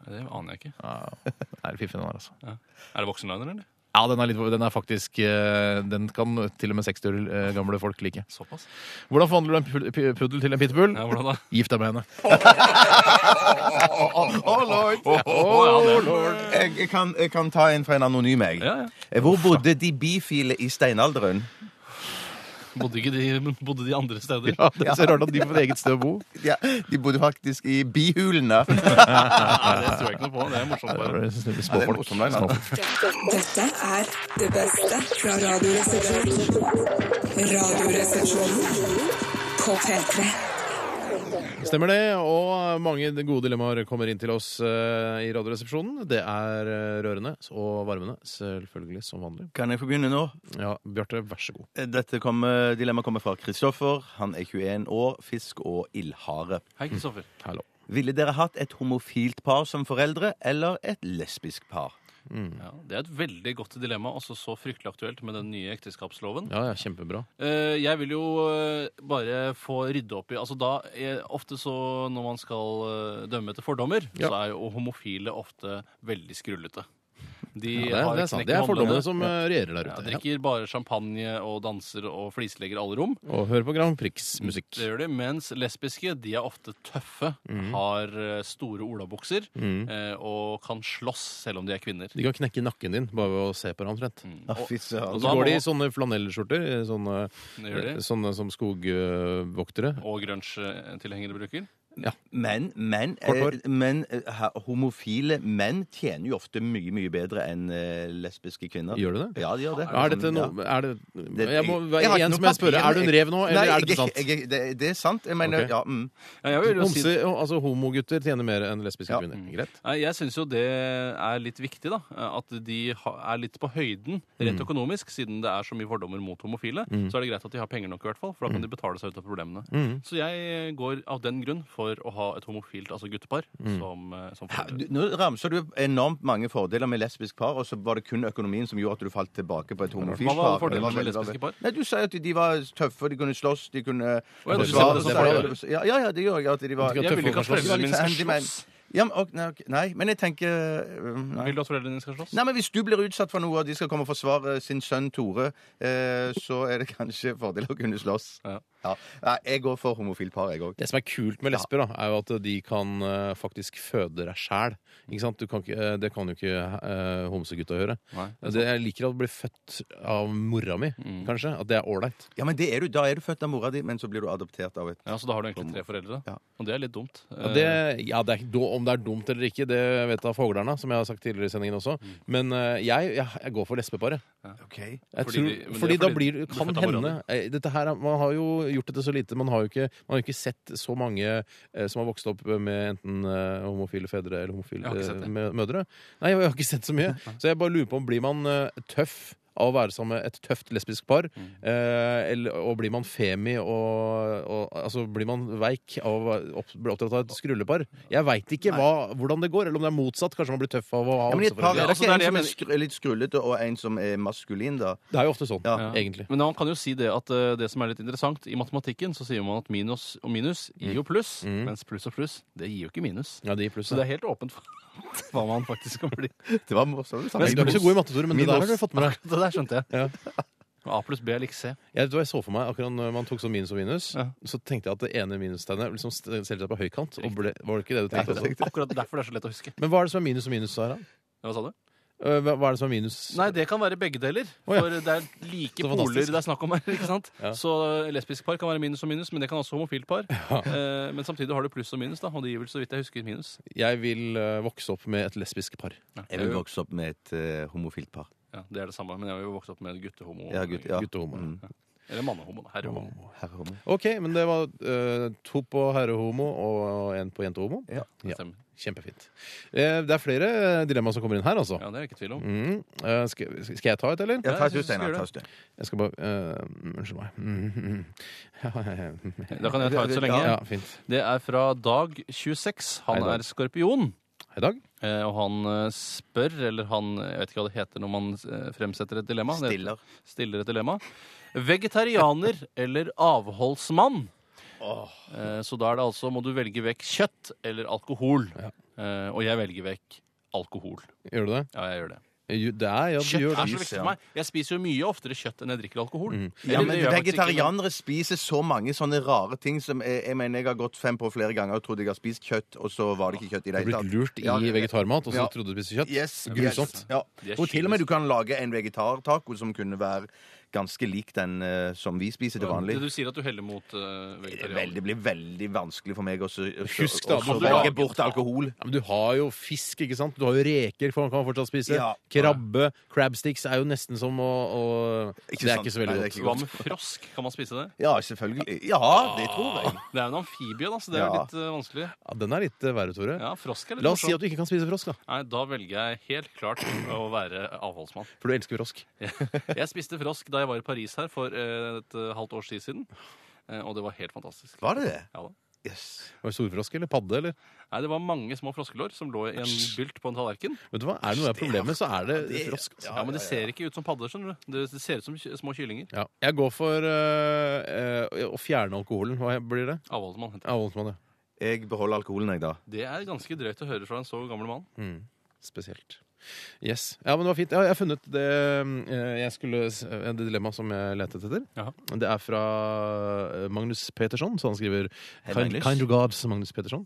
[SPEAKER 3] Det aner jeg ikke.
[SPEAKER 2] Er det fiffen den er, altså.
[SPEAKER 3] Er det voksenliner, eller?
[SPEAKER 2] Ja, den er, litt, den er faktisk eh, Den kan til og med 60 år eh, gamle folk like.
[SPEAKER 3] Såpass?
[SPEAKER 2] Hvordan forvandler du en pu- pu- puddel til en pitbull?
[SPEAKER 3] Ja, hvordan da?
[SPEAKER 2] Gift deg med henne.
[SPEAKER 4] Oh, lord. Jeg, jeg, kan, jeg kan ta en fra en anonym, jeg.
[SPEAKER 3] Ja, ja.
[SPEAKER 4] Eh, Hvor bodde de bifile i steinalderen?
[SPEAKER 3] Bodde ikke de, men bodde de andre steder?
[SPEAKER 2] Ja, det er så rart at de får et eget sted å bo.
[SPEAKER 4] Ja, de bodde faktisk i bihulene.
[SPEAKER 3] Nei, det tror jeg ikke noe på. Det er morsomt.
[SPEAKER 2] Det
[SPEAKER 3] bare.
[SPEAKER 2] var snille Småfolk.
[SPEAKER 4] morsom line, da.
[SPEAKER 2] Småfolk.
[SPEAKER 1] Dette er det beste fra Radioresepsjonen. Radioresepsjonen på P3.
[SPEAKER 2] Stemmer det. Og mange gode dilemmaer kommer inn til oss eh, i Radioresepsjonen. Det er eh, rørende og varmende, selvfølgelig, som vanlig.
[SPEAKER 4] Kan jeg få begynne nå? Eh,
[SPEAKER 2] Ja, Bjarte, vær så god.
[SPEAKER 4] Dette kommer, dilemmaet kommer fra Kristoffer. Han er 21 år, fisk og ildhare.
[SPEAKER 3] Hei, Kristoffer.
[SPEAKER 2] Mm. Hallo.
[SPEAKER 4] Ville dere hatt et homofilt par som foreldre, eller et lesbisk par?
[SPEAKER 2] Mm,
[SPEAKER 3] Ja, det er et veldig godt dilemma, også så fryktelig aktuelt med den nye ekteskapsloven.
[SPEAKER 2] Ja, ja, kjempebra.
[SPEAKER 3] Eh, Jeg vil jo eh, bare få rydde opp i Altså da, eh, Ofte så når man skal eh, dømme etter fordommer, så er jo homofile ofte veldig skrullete. De
[SPEAKER 2] Ja, det, er,
[SPEAKER 3] har
[SPEAKER 2] det, er sant.
[SPEAKER 3] knekk i
[SPEAKER 2] det er fordommene
[SPEAKER 3] håndleddene.
[SPEAKER 2] som eh, regjerer der
[SPEAKER 3] ja,
[SPEAKER 2] ute. Ja.
[SPEAKER 3] drikker bare champagne og danser og flislegger alle rom.
[SPEAKER 2] Og hør på Grand Prix-musikk.
[SPEAKER 3] Det gjør de, Mens lesbiske de er ofte tøffe,
[SPEAKER 2] Mhm.
[SPEAKER 3] har eh, store olabukser eh, og kan slåss selv om de er kvinner.
[SPEAKER 2] De kan knekke nakken din bare ved å se på deg omtrent.
[SPEAKER 4] Å, fy søren.
[SPEAKER 2] Og
[SPEAKER 3] Mm. da
[SPEAKER 2] så går de
[SPEAKER 3] må-
[SPEAKER 2] i sånne flanellskjorter, eh, sånne, eh,
[SPEAKER 3] Det gjør de.
[SPEAKER 2] sånne som skogvoktere.
[SPEAKER 3] Og grunge-tilhengere bruker.
[SPEAKER 4] Men, men,
[SPEAKER 2] Kort hår.
[SPEAKER 4] eh, men eh, ha- homofile menn tjener jo ofte mye, mye bedre enn eh, lesbiske kvinner.
[SPEAKER 2] Gjør du det?
[SPEAKER 4] Ja, de gjør det.
[SPEAKER 2] Er dette
[SPEAKER 4] Ja.
[SPEAKER 2] noe er det,
[SPEAKER 4] Det-
[SPEAKER 2] Jeg må
[SPEAKER 4] har
[SPEAKER 2] være
[SPEAKER 4] ikke
[SPEAKER 2] en
[SPEAKER 4] noe
[SPEAKER 2] som jeg spør.
[SPEAKER 4] papir,
[SPEAKER 2] Er du en
[SPEAKER 4] jeg-
[SPEAKER 2] rev nå, eller
[SPEAKER 4] Nei,
[SPEAKER 2] er det
[SPEAKER 4] jeg-
[SPEAKER 2] sant?
[SPEAKER 4] jeg- det, det er sant. Jeg mener,
[SPEAKER 2] Ok.
[SPEAKER 4] ja, mm.
[SPEAKER 3] Ja, jeg vil jo si Mm,
[SPEAKER 2] Homse, altså Homogutter tjener mer enn lesbiske
[SPEAKER 4] Ja.
[SPEAKER 2] kvinner. Greit.
[SPEAKER 3] Nei, Jeg syns jo det er litt viktig, da. At de ha- er litt på høyden rent økonomisk, siden det er så mye fordommer mot homofile. Så er det greit at de har penger nok, i hvert fall, for da kan de betale seg ut av problemene. Så jeg går av den grunn for å ha et homofilt, altså guttepar, som, eh, som
[SPEAKER 4] Ha,
[SPEAKER 3] foreldre.
[SPEAKER 4] du- Nå ramser du opp enormt mange fordeler med lesbisk par, og så var det kun økonomien som gjorde at du falt tilbake på et homofilt
[SPEAKER 3] Hva
[SPEAKER 4] par.
[SPEAKER 3] var fordelene
[SPEAKER 4] Det
[SPEAKER 3] med
[SPEAKER 4] veldig-
[SPEAKER 3] lesbiske par?
[SPEAKER 4] Nei, Du sier at de var tøffe, de kunne slåss, de kunne
[SPEAKER 3] ja, du
[SPEAKER 4] forsvare
[SPEAKER 3] sier det
[SPEAKER 4] seg.
[SPEAKER 3] som
[SPEAKER 4] ja, ja, ja, det gjør jeg. At de var
[SPEAKER 2] Du skal
[SPEAKER 3] Jeg vil
[SPEAKER 2] tøffe
[SPEAKER 3] ikke at
[SPEAKER 2] folk
[SPEAKER 4] de var litt
[SPEAKER 3] foreldrene mine skal
[SPEAKER 4] handyman.
[SPEAKER 3] slåss.
[SPEAKER 4] Ja, men, ok, nei, ok, nei, men jeg tenker øh, nei.
[SPEAKER 3] Vil du at foreldrene dine skal slåss?
[SPEAKER 4] Nei, men Hvis du blir utsatt for noe, og de skal komme og forsvare sin sønn Tore, eh, så er det kanskje fordel å kunne slåss.
[SPEAKER 3] Ja.
[SPEAKER 4] Nei, jeg går for homofilt par, jeg òg.
[SPEAKER 2] Det som er kult med lesber, da, er jo at de kan eh, faktisk føde deg sjæl. Ikke sant? Du kan ikke, eh, det kan jo ikke eh, homsegutta gjøre.
[SPEAKER 3] Nei,
[SPEAKER 2] det jeg liker å bli født av mora mi,
[SPEAKER 3] Mm.
[SPEAKER 2] kanskje. At det er ålreit.
[SPEAKER 4] Ja, men det er du, Da er du født av mora di, men så blir du adoptert av et
[SPEAKER 3] Ja, Så da har du egentlig tre foreldre,
[SPEAKER 4] Ja.
[SPEAKER 3] og det er litt dumt.
[SPEAKER 2] Ja, det, ja det er, ikke- om det er dumt eller ikke, det vet da foglerna, som jeg har sagt tidligere i sendingen også.
[SPEAKER 3] Mm.
[SPEAKER 2] Men eh, jeg, jeg, jeg går for lesbeparet.
[SPEAKER 4] Ok.
[SPEAKER 2] Jeg
[SPEAKER 3] Fordi
[SPEAKER 2] fordi tror,
[SPEAKER 3] de- men det er
[SPEAKER 2] fordi da
[SPEAKER 3] fordi
[SPEAKER 2] blir
[SPEAKER 3] du er
[SPEAKER 2] kan
[SPEAKER 3] født av mora
[SPEAKER 2] hende eh, dette her, er- Man har jo gjort dette så lite. Man har jo ikke, man har jo ikke sett så mange eh, som har vokst opp med enten eh, homofile fedre eller homofile
[SPEAKER 3] har ikke sett
[SPEAKER 2] eh,
[SPEAKER 3] det.
[SPEAKER 2] mø- mødre. Nei, jeg har ikke sett så mye. Så jeg bare lurer på om blir man eh, tøff av å være sammen med et tøft lesbisk par? Eh, eller, og blir man femi og, og Altså blir man veik av å være- opp, bli oppdratt av et skrullepar? Jeg veit ikke hva, hvordan det går, eller om det er motsatt. Kanskje man blir tøff av å ha
[SPEAKER 4] Ja, men i et par er
[SPEAKER 2] homseforeldre.
[SPEAKER 4] det
[SPEAKER 3] Altså,
[SPEAKER 4] ikke
[SPEAKER 3] det er
[SPEAKER 4] en
[SPEAKER 3] det
[SPEAKER 4] som er
[SPEAKER 3] jeg
[SPEAKER 4] skru- litt skrullete, og en som er maskulin, da?
[SPEAKER 2] Det er jo ofte sånn,
[SPEAKER 4] Ja.
[SPEAKER 2] egentlig.
[SPEAKER 3] Men man kan jo si det at eh, det som er litt interessant, i matematikken så sier man at minus og minus gir jo pluss, mens pluss og pluss, det gir jo ikke minus.
[SPEAKER 2] Mm. Ja, de pluss,
[SPEAKER 3] Så det er helt åpent for hva man faktisk kan bli.
[SPEAKER 4] Det var morsomt.
[SPEAKER 2] Men Du er ikke så god i matte, Tore, men det der har du fått med deg.
[SPEAKER 3] Det der skjønte jeg.
[SPEAKER 2] Ja.
[SPEAKER 3] A pluss B er lik C.
[SPEAKER 2] Jeg, vet du hva jeg så for meg akkurat når man tok sånn minus og minus,
[SPEAKER 3] Ja.
[SPEAKER 2] så tenkte jeg at det ene minustegnet liksom stelte seg på høykant. Og ble, var det ikke det du tenkte også?
[SPEAKER 3] Akkurat derfor det er så lett å huske.
[SPEAKER 2] Men hva er det som er minus og minus, Sara?
[SPEAKER 3] Hva sa du?
[SPEAKER 2] Eh, Hva hva er det som er minus?
[SPEAKER 3] Nei, det kan være begge deler.
[SPEAKER 2] Å, ja.
[SPEAKER 3] For det er like
[SPEAKER 2] Så
[SPEAKER 3] poler
[SPEAKER 2] fantastisk.
[SPEAKER 3] det er snakk om her. ikke sant? Så eh, lesbisk par kan være minus og minus, men det kan også homofilt par. Eh, men samtidig har du pluss og minus, da, og de gir vel så vidt jeg husker minus.
[SPEAKER 2] Jeg vil eh, vokse opp med et lesbisk par.
[SPEAKER 4] Jeg vil vokse opp med et eh, homofilt par.
[SPEAKER 3] Ja, Det er det samme, men jeg har jo vokst opp med guttehomo.
[SPEAKER 4] Ja, gutt, ja. Mm.
[SPEAKER 2] Guttehomo.
[SPEAKER 3] Eller mannehomo. da. Herrehomo.
[SPEAKER 4] Herrehomo.
[SPEAKER 2] OK, men det var eh, to på herrehomo og én på jentehomo.
[SPEAKER 4] Ja.
[SPEAKER 3] Det
[SPEAKER 2] Ja.
[SPEAKER 3] stemmer.
[SPEAKER 2] Kjempefint. Eh, det er flere eh, dilemmaer som kommer inn her, altså.
[SPEAKER 3] Ja, det er jeg ikke i tvil om.
[SPEAKER 2] Mm. Eh, skal, skal jeg ta et, eller?
[SPEAKER 4] Ja, ta et
[SPEAKER 3] jeg
[SPEAKER 4] ut,
[SPEAKER 3] synes vi
[SPEAKER 4] Steinar.
[SPEAKER 3] gjør
[SPEAKER 4] ta
[SPEAKER 3] det.
[SPEAKER 4] et ut.
[SPEAKER 2] Jeg skal bare eh, Unnskyld meg. Mm, mm, mm.
[SPEAKER 3] Da kan jeg ta ut så lenge.
[SPEAKER 2] Ja, fint.
[SPEAKER 3] Det er fra Dag 26. Han
[SPEAKER 2] Hei, Dag.
[SPEAKER 3] er skorpion.
[SPEAKER 2] Hei, Dag.
[SPEAKER 3] eh, Og han eh, spør, eller han Jeg vet ikke hva det heter når man eh, fremsetter et dilemma. Det heter-
[SPEAKER 4] Stiller.
[SPEAKER 3] stiller et dilemma. Vegetarianer eller avholdsmann? Eh, Så da er det altså må du velge vekk kjøtt eller alkohol. Eh, Og jeg velger vekk alkohol.
[SPEAKER 2] Gjør du det?
[SPEAKER 3] Ja, jeg gjør det.
[SPEAKER 2] Jo, Det er, ja, du
[SPEAKER 3] Kjøtt
[SPEAKER 2] gjør
[SPEAKER 3] er så
[SPEAKER 2] det. Mm.
[SPEAKER 3] viktig for meg. Jeg spiser jo mye oftere kjøtt enn jeg drikker alkohol.
[SPEAKER 4] Ja, men
[SPEAKER 3] Eller det gjør jeg faktisk ikke,
[SPEAKER 4] Vegetarianere spiser så mange sånne rare ting som jeg, jeg mener jeg har gått fem på flere ganger og trodde jeg har spist kjøtt, og så var det ikke kjøtt i det
[SPEAKER 2] Du har blitt lurt
[SPEAKER 4] Ja,
[SPEAKER 2] i vegetarmat, og så
[SPEAKER 4] Ja.
[SPEAKER 2] trodde du spiste kjøtt?
[SPEAKER 4] Yes,
[SPEAKER 2] Grusomt.
[SPEAKER 4] Yes. Ja.
[SPEAKER 3] Det er
[SPEAKER 4] Og til og med du kan lage en vegetartaco som kunne være ganske lik den eh, som vi spiser til vanlig.
[SPEAKER 3] Det Du sier at du heller mot eh,
[SPEAKER 4] Vel,
[SPEAKER 3] vegetarianer.
[SPEAKER 4] det blir veldig vanskelig for meg å så- å så-
[SPEAKER 2] Husk da,
[SPEAKER 4] å så
[SPEAKER 2] må du lage-
[SPEAKER 4] velge bort alkohol.
[SPEAKER 2] Ja, men du har jo fisk, ikke sant? Du har jo reker for man kan fortsatt spise.
[SPEAKER 4] Ja.
[SPEAKER 2] Krabbe. Crabsticks er jo nesten som å, å
[SPEAKER 4] Ikke
[SPEAKER 2] Det er
[SPEAKER 4] sant.
[SPEAKER 2] ikke så veldig
[SPEAKER 4] Nei, det
[SPEAKER 2] godt.
[SPEAKER 4] er
[SPEAKER 3] Hva med frosk? Kan man spise det? Ah,
[SPEAKER 4] Ja, selvfølgelig. Ja, det tror jeg.
[SPEAKER 3] Det er jo en amfibie, da, så det er jo
[SPEAKER 4] Ja.
[SPEAKER 3] litt eh, vanskelig.
[SPEAKER 2] Ja, den er litt eh, verre, Tore.
[SPEAKER 3] Ja, frosk er litt
[SPEAKER 2] La oss si at
[SPEAKER 3] morsomt.
[SPEAKER 2] du ikke kan spise frosk, da.
[SPEAKER 3] Nei, da velger jeg helt klart å være avholdsmann.
[SPEAKER 2] For du elsker frosk.
[SPEAKER 3] Jeg spiste frosk da jeg var i Paris her for eh, et eh, halvt års tid siden. Eh, Og det var helt fantastisk.
[SPEAKER 4] Var det det?
[SPEAKER 3] Ja da.
[SPEAKER 4] Yes.
[SPEAKER 2] Var det Storfrosk eller padde, eller?
[SPEAKER 3] Nei, det var mange små froskelår som lå i en bylt på en tallerken.
[SPEAKER 2] Vet du hva, Er det noe jeg har problemer med, så er det frosk. altså.
[SPEAKER 3] Ja, Men det ser ikke ut som padder, skjønner du. Det, det ser ut som ky- små kyllinger.
[SPEAKER 2] Ja. Jeg går for eh, eh, å fjerne alkoholen. Hva blir det?
[SPEAKER 3] Avholdsmann. heter det.
[SPEAKER 2] Ja, Oldsmann, ja.
[SPEAKER 4] Jeg beholder alkoholen, jeg, da.
[SPEAKER 3] Det er ganske drøyt å høre fra en så gammel mann.
[SPEAKER 2] Mm, Spesielt. Yes. Ja, men det var fint. Ja, jeg har funnet det, eh, jeg skulle, s- eh, det dilemmaet som jeg lette etter.
[SPEAKER 3] Jaha.
[SPEAKER 2] Det er fra eh, Magnus Petersson, så han skriver
[SPEAKER 4] Hei,
[SPEAKER 2] Kind,
[SPEAKER 4] Magnus.
[SPEAKER 2] kind regards, Magnus Petersson.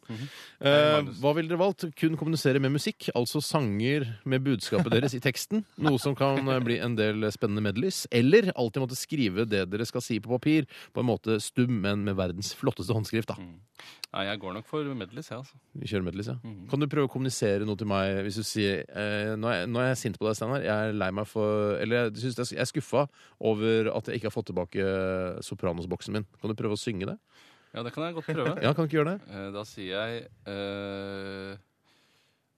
[SPEAKER 2] Eh, hva ville dere valgt? Kun kommunisere med musikk, altså sanger med budskapet deres i teksten, noe som kan eh, bli en del spennende medleys, eller alltid måtte skrive det dere skal si på papir, på en måte stum, men med verdens flotteste håndskrift, da.
[SPEAKER 3] Nei, jeg går nok for medleys, jeg, altså.
[SPEAKER 2] Vi kjører medleys, ja. Kan du prøve å kommunisere noe til meg hvis du sier eh, nå, er, nå er jeg sint på deg, Steinar. Jeg er lei meg for Eller jeg, synes det er- jeg er skuffa over at jeg ikke har fått tilbake eh, Sopranos-boksen min. Kan du prøve å synge det?
[SPEAKER 3] Ja, det kan jeg godt prøve.
[SPEAKER 2] Ja, kan du ikke gjøre det?
[SPEAKER 3] Eh, Da sier jeg eh,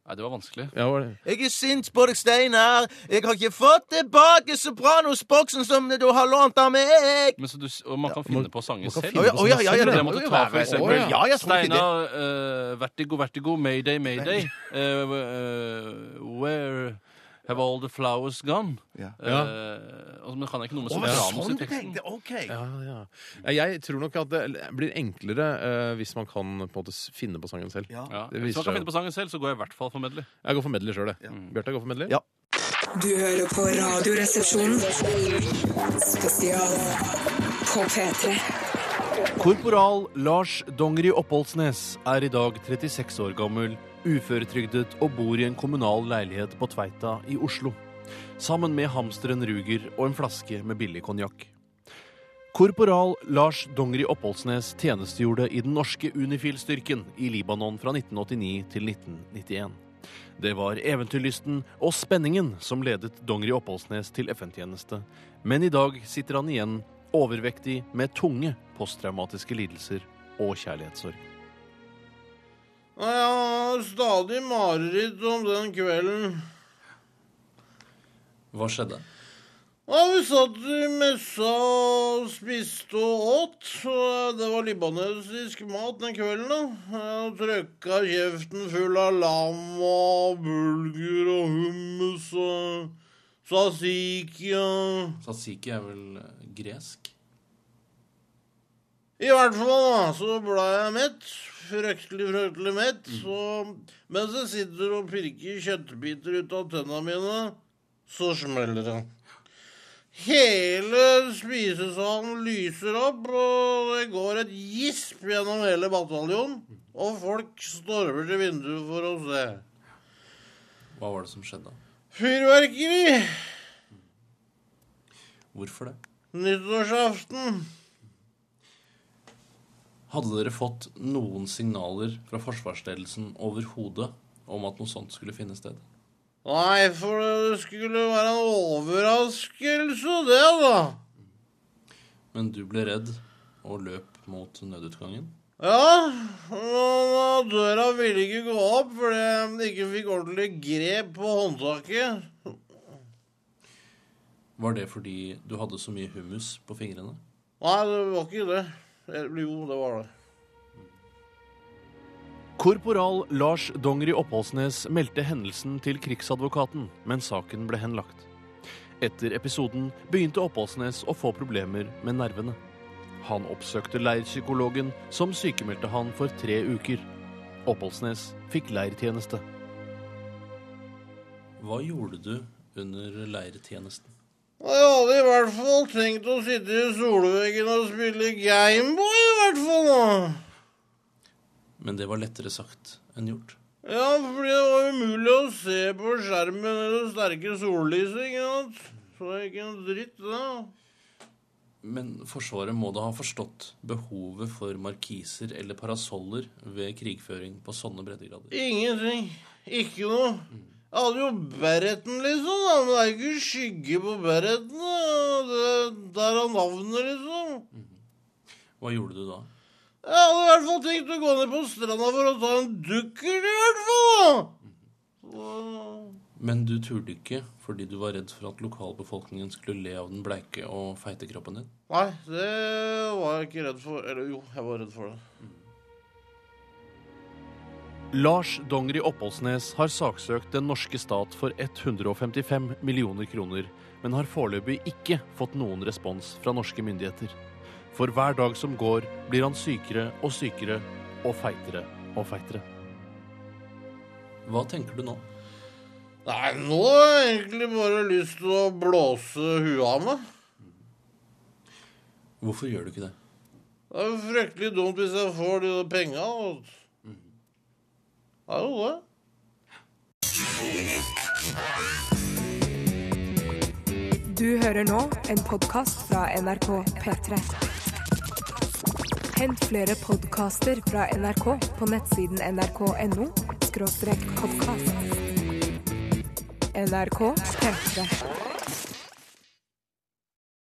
[SPEAKER 3] Nei, det var vanskelig.
[SPEAKER 2] Ja, var det?
[SPEAKER 4] Jeg er sint på deg, Steinar. Jeg har ikke fått tilbake Sopranos-boksen som du har lånt av meg.
[SPEAKER 3] Men så du, s- og man kan finne på sanger
[SPEAKER 2] man kan
[SPEAKER 3] selv.
[SPEAKER 2] finne på Å ja, å ja, sanger ja, selv, ja,
[SPEAKER 3] det
[SPEAKER 2] ja.
[SPEAKER 3] måtte ta for eksempel.
[SPEAKER 2] Å ja. sånn
[SPEAKER 4] Ja, jeg tror ikke det.
[SPEAKER 3] Steinar, eh, vertigo, vertigo, mayday, mayday. Eh, eh, where have all the flowers gone?
[SPEAKER 4] Ja.
[SPEAKER 3] Eh, og- men kan jeg ikke noe med sopranos
[SPEAKER 2] sånn
[SPEAKER 3] i teksten?
[SPEAKER 4] Sånn OK.
[SPEAKER 2] Ja, ja. Ja, Jeg tror nok at det blir enklere eh, hvis man kan på en måte s- finne på sangen selv.
[SPEAKER 4] Ja.
[SPEAKER 3] Ja.
[SPEAKER 2] Det
[SPEAKER 3] Hvis
[SPEAKER 2] viser
[SPEAKER 3] man kan
[SPEAKER 2] seg
[SPEAKER 3] finne på sangen selv, så går jeg i hvert fall for medley.
[SPEAKER 2] Jeg går for medley sjøl, jeg. Bjarte jeg går for medley.
[SPEAKER 4] Ja.
[SPEAKER 1] Du hører på Radioresepsjonen. Spesial på P3.
[SPEAKER 3] Korporal Lars Dongeri Oppholdsnes er i dag 36 år gammel, uføretrygdet og bor i en kommunal leilighet på Tveita i Oslo. Sammen med hamsteren Ruger og en flaske med billig konjakk. Korporal Lars Dongeri Oppholdsnes tjenestegjorde i den norske Unifil-styrken i Libanon fra 1989 til 1991. Det var eventyrlysten og spenningen som ledet Dongeri Oppholdsnes til FN-tjeneste, men i dag sitter han igjen overvektig med tunge posttraumatiske lidelser og kjærlighetssorg.
[SPEAKER 2] Nei, han har stadig mareritt om den kvelden.
[SPEAKER 3] Hva skjedde?
[SPEAKER 2] Ja, vi satt i messa og spiste og åt. og Det var libanesisk mat den kvelden, da. Jeg trøkka kjeften full av lam og bulgur og hummus og tzatziki og
[SPEAKER 3] Tzatziki er vel
[SPEAKER 11] eh,
[SPEAKER 3] gresk?
[SPEAKER 2] I hvert fall da, så ble jeg mett. Fryktelig, fryktelig mett. Så mens jeg sitter og pirker kjøttbiter ut av tennene mine, så smeller det. Hele spisesalen lyser opp, og det går et gisp gjennom hele bataljonen. Og folk stormer til vinduet for å se.
[SPEAKER 3] Hva var det som skjedde?
[SPEAKER 5] Fyrverkeri!
[SPEAKER 11] Hvorfor det?
[SPEAKER 5] Nyttårsaften.
[SPEAKER 11] Hadde dere fått noen signaler fra forsvarsledelsen overhodet om at noe sånt skulle finne sted?
[SPEAKER 5] Nei, for det skulle være en overraskelse, det, da.
[SPEAKER 11] Men du ble redd og løp mot nødutgangen?
[SPEAKER 5] Ja, men døra ville ikke gå opp fordi jeg ikke fikk ordentlig grep på håndtaket.
[SPEAKER 11] Var det fordi du hadde så mye hummus på fingrene?
[SPEAKER 5] Nei, det var ikke det. Eller jo, det var det.
[SPEAKER 3] Korporal Lars Dongeri Oppholdsnes meldte hendelsen til Krigsadvokaten, men saken ble henlagt. Etter episoden begynte Oppholdsnes å få problemer med nervene. Han oppsøkte leirpsykologen, som sykemeldte han for tre uker. Oppholdsnes fikk leirtjeneste.
[SPEAKER 11] Hva gjorde du under leirtjenesten?
[SPEAKER 5] Og Jeg hadde i hvert fall tenkt å sitte i solveggen og spille Gameboy, i hvert fall. da.
[SPEAKER 11] Men det var lettere sagt enn gjort.
[SPEAKER 5] Ja, fordi det var umulig å se på skjermen i det sterke sollyset, ikke sant? Så det er ikke en dritt, det.
[SPEAKER 11] Men Forsvaret må da ha forstått behovet for markiser eller parasoller ved krigføring på sånne breddegrader.
[SPEAKER 5] Ingenting. Ikke noe. Jeg hadde jo Bereten, liksom, da, men det er ikke skygge på Bereten. da. Det- Der er navnet, liksom.
[SPEAKER 11] Hva gjorde du da?
[SPEAKER 5] Jeg hadde i hvert fall tenkt å gå ned på stranda for å ta en dukker, i hvert fall. da.
[SPEAKER 11] Men du turte ikke fordi du var redd for at lokalbefolkningen skulle le av den bleike og feite kroppen din?
[SPEAKER 5] Nei, det var jeg ikke redd for. Eller jo, jeg var redd for det.
[SPEAKER 3] Lars Dongeri Oppholdsnes har saksøkt den norske stat for 155 millioner kroner, men har foreløpig ikke fått noen respons fra norske myndigheter. For hver dag som går, blir han sykere og sykere og feitere og feitere.
[SPEAKER 11] Hva tenker du nå?
[SPEAKER 5] Nei, nå har jeg egentlig bare lyst til å blåse huet av meg.
[SPEAKER 11] Hvorfor gjør du ikke det?
[SPEAKER 5] Det er jo fryktelig dumt hvis jeg får de der penga. og- Det er jo det.
[SPEAKER 1] Du hører nå en podkast fra NRK P3. Hent flere podkaster fra NRK på nettsiden nrk.no podkast. NRK P3.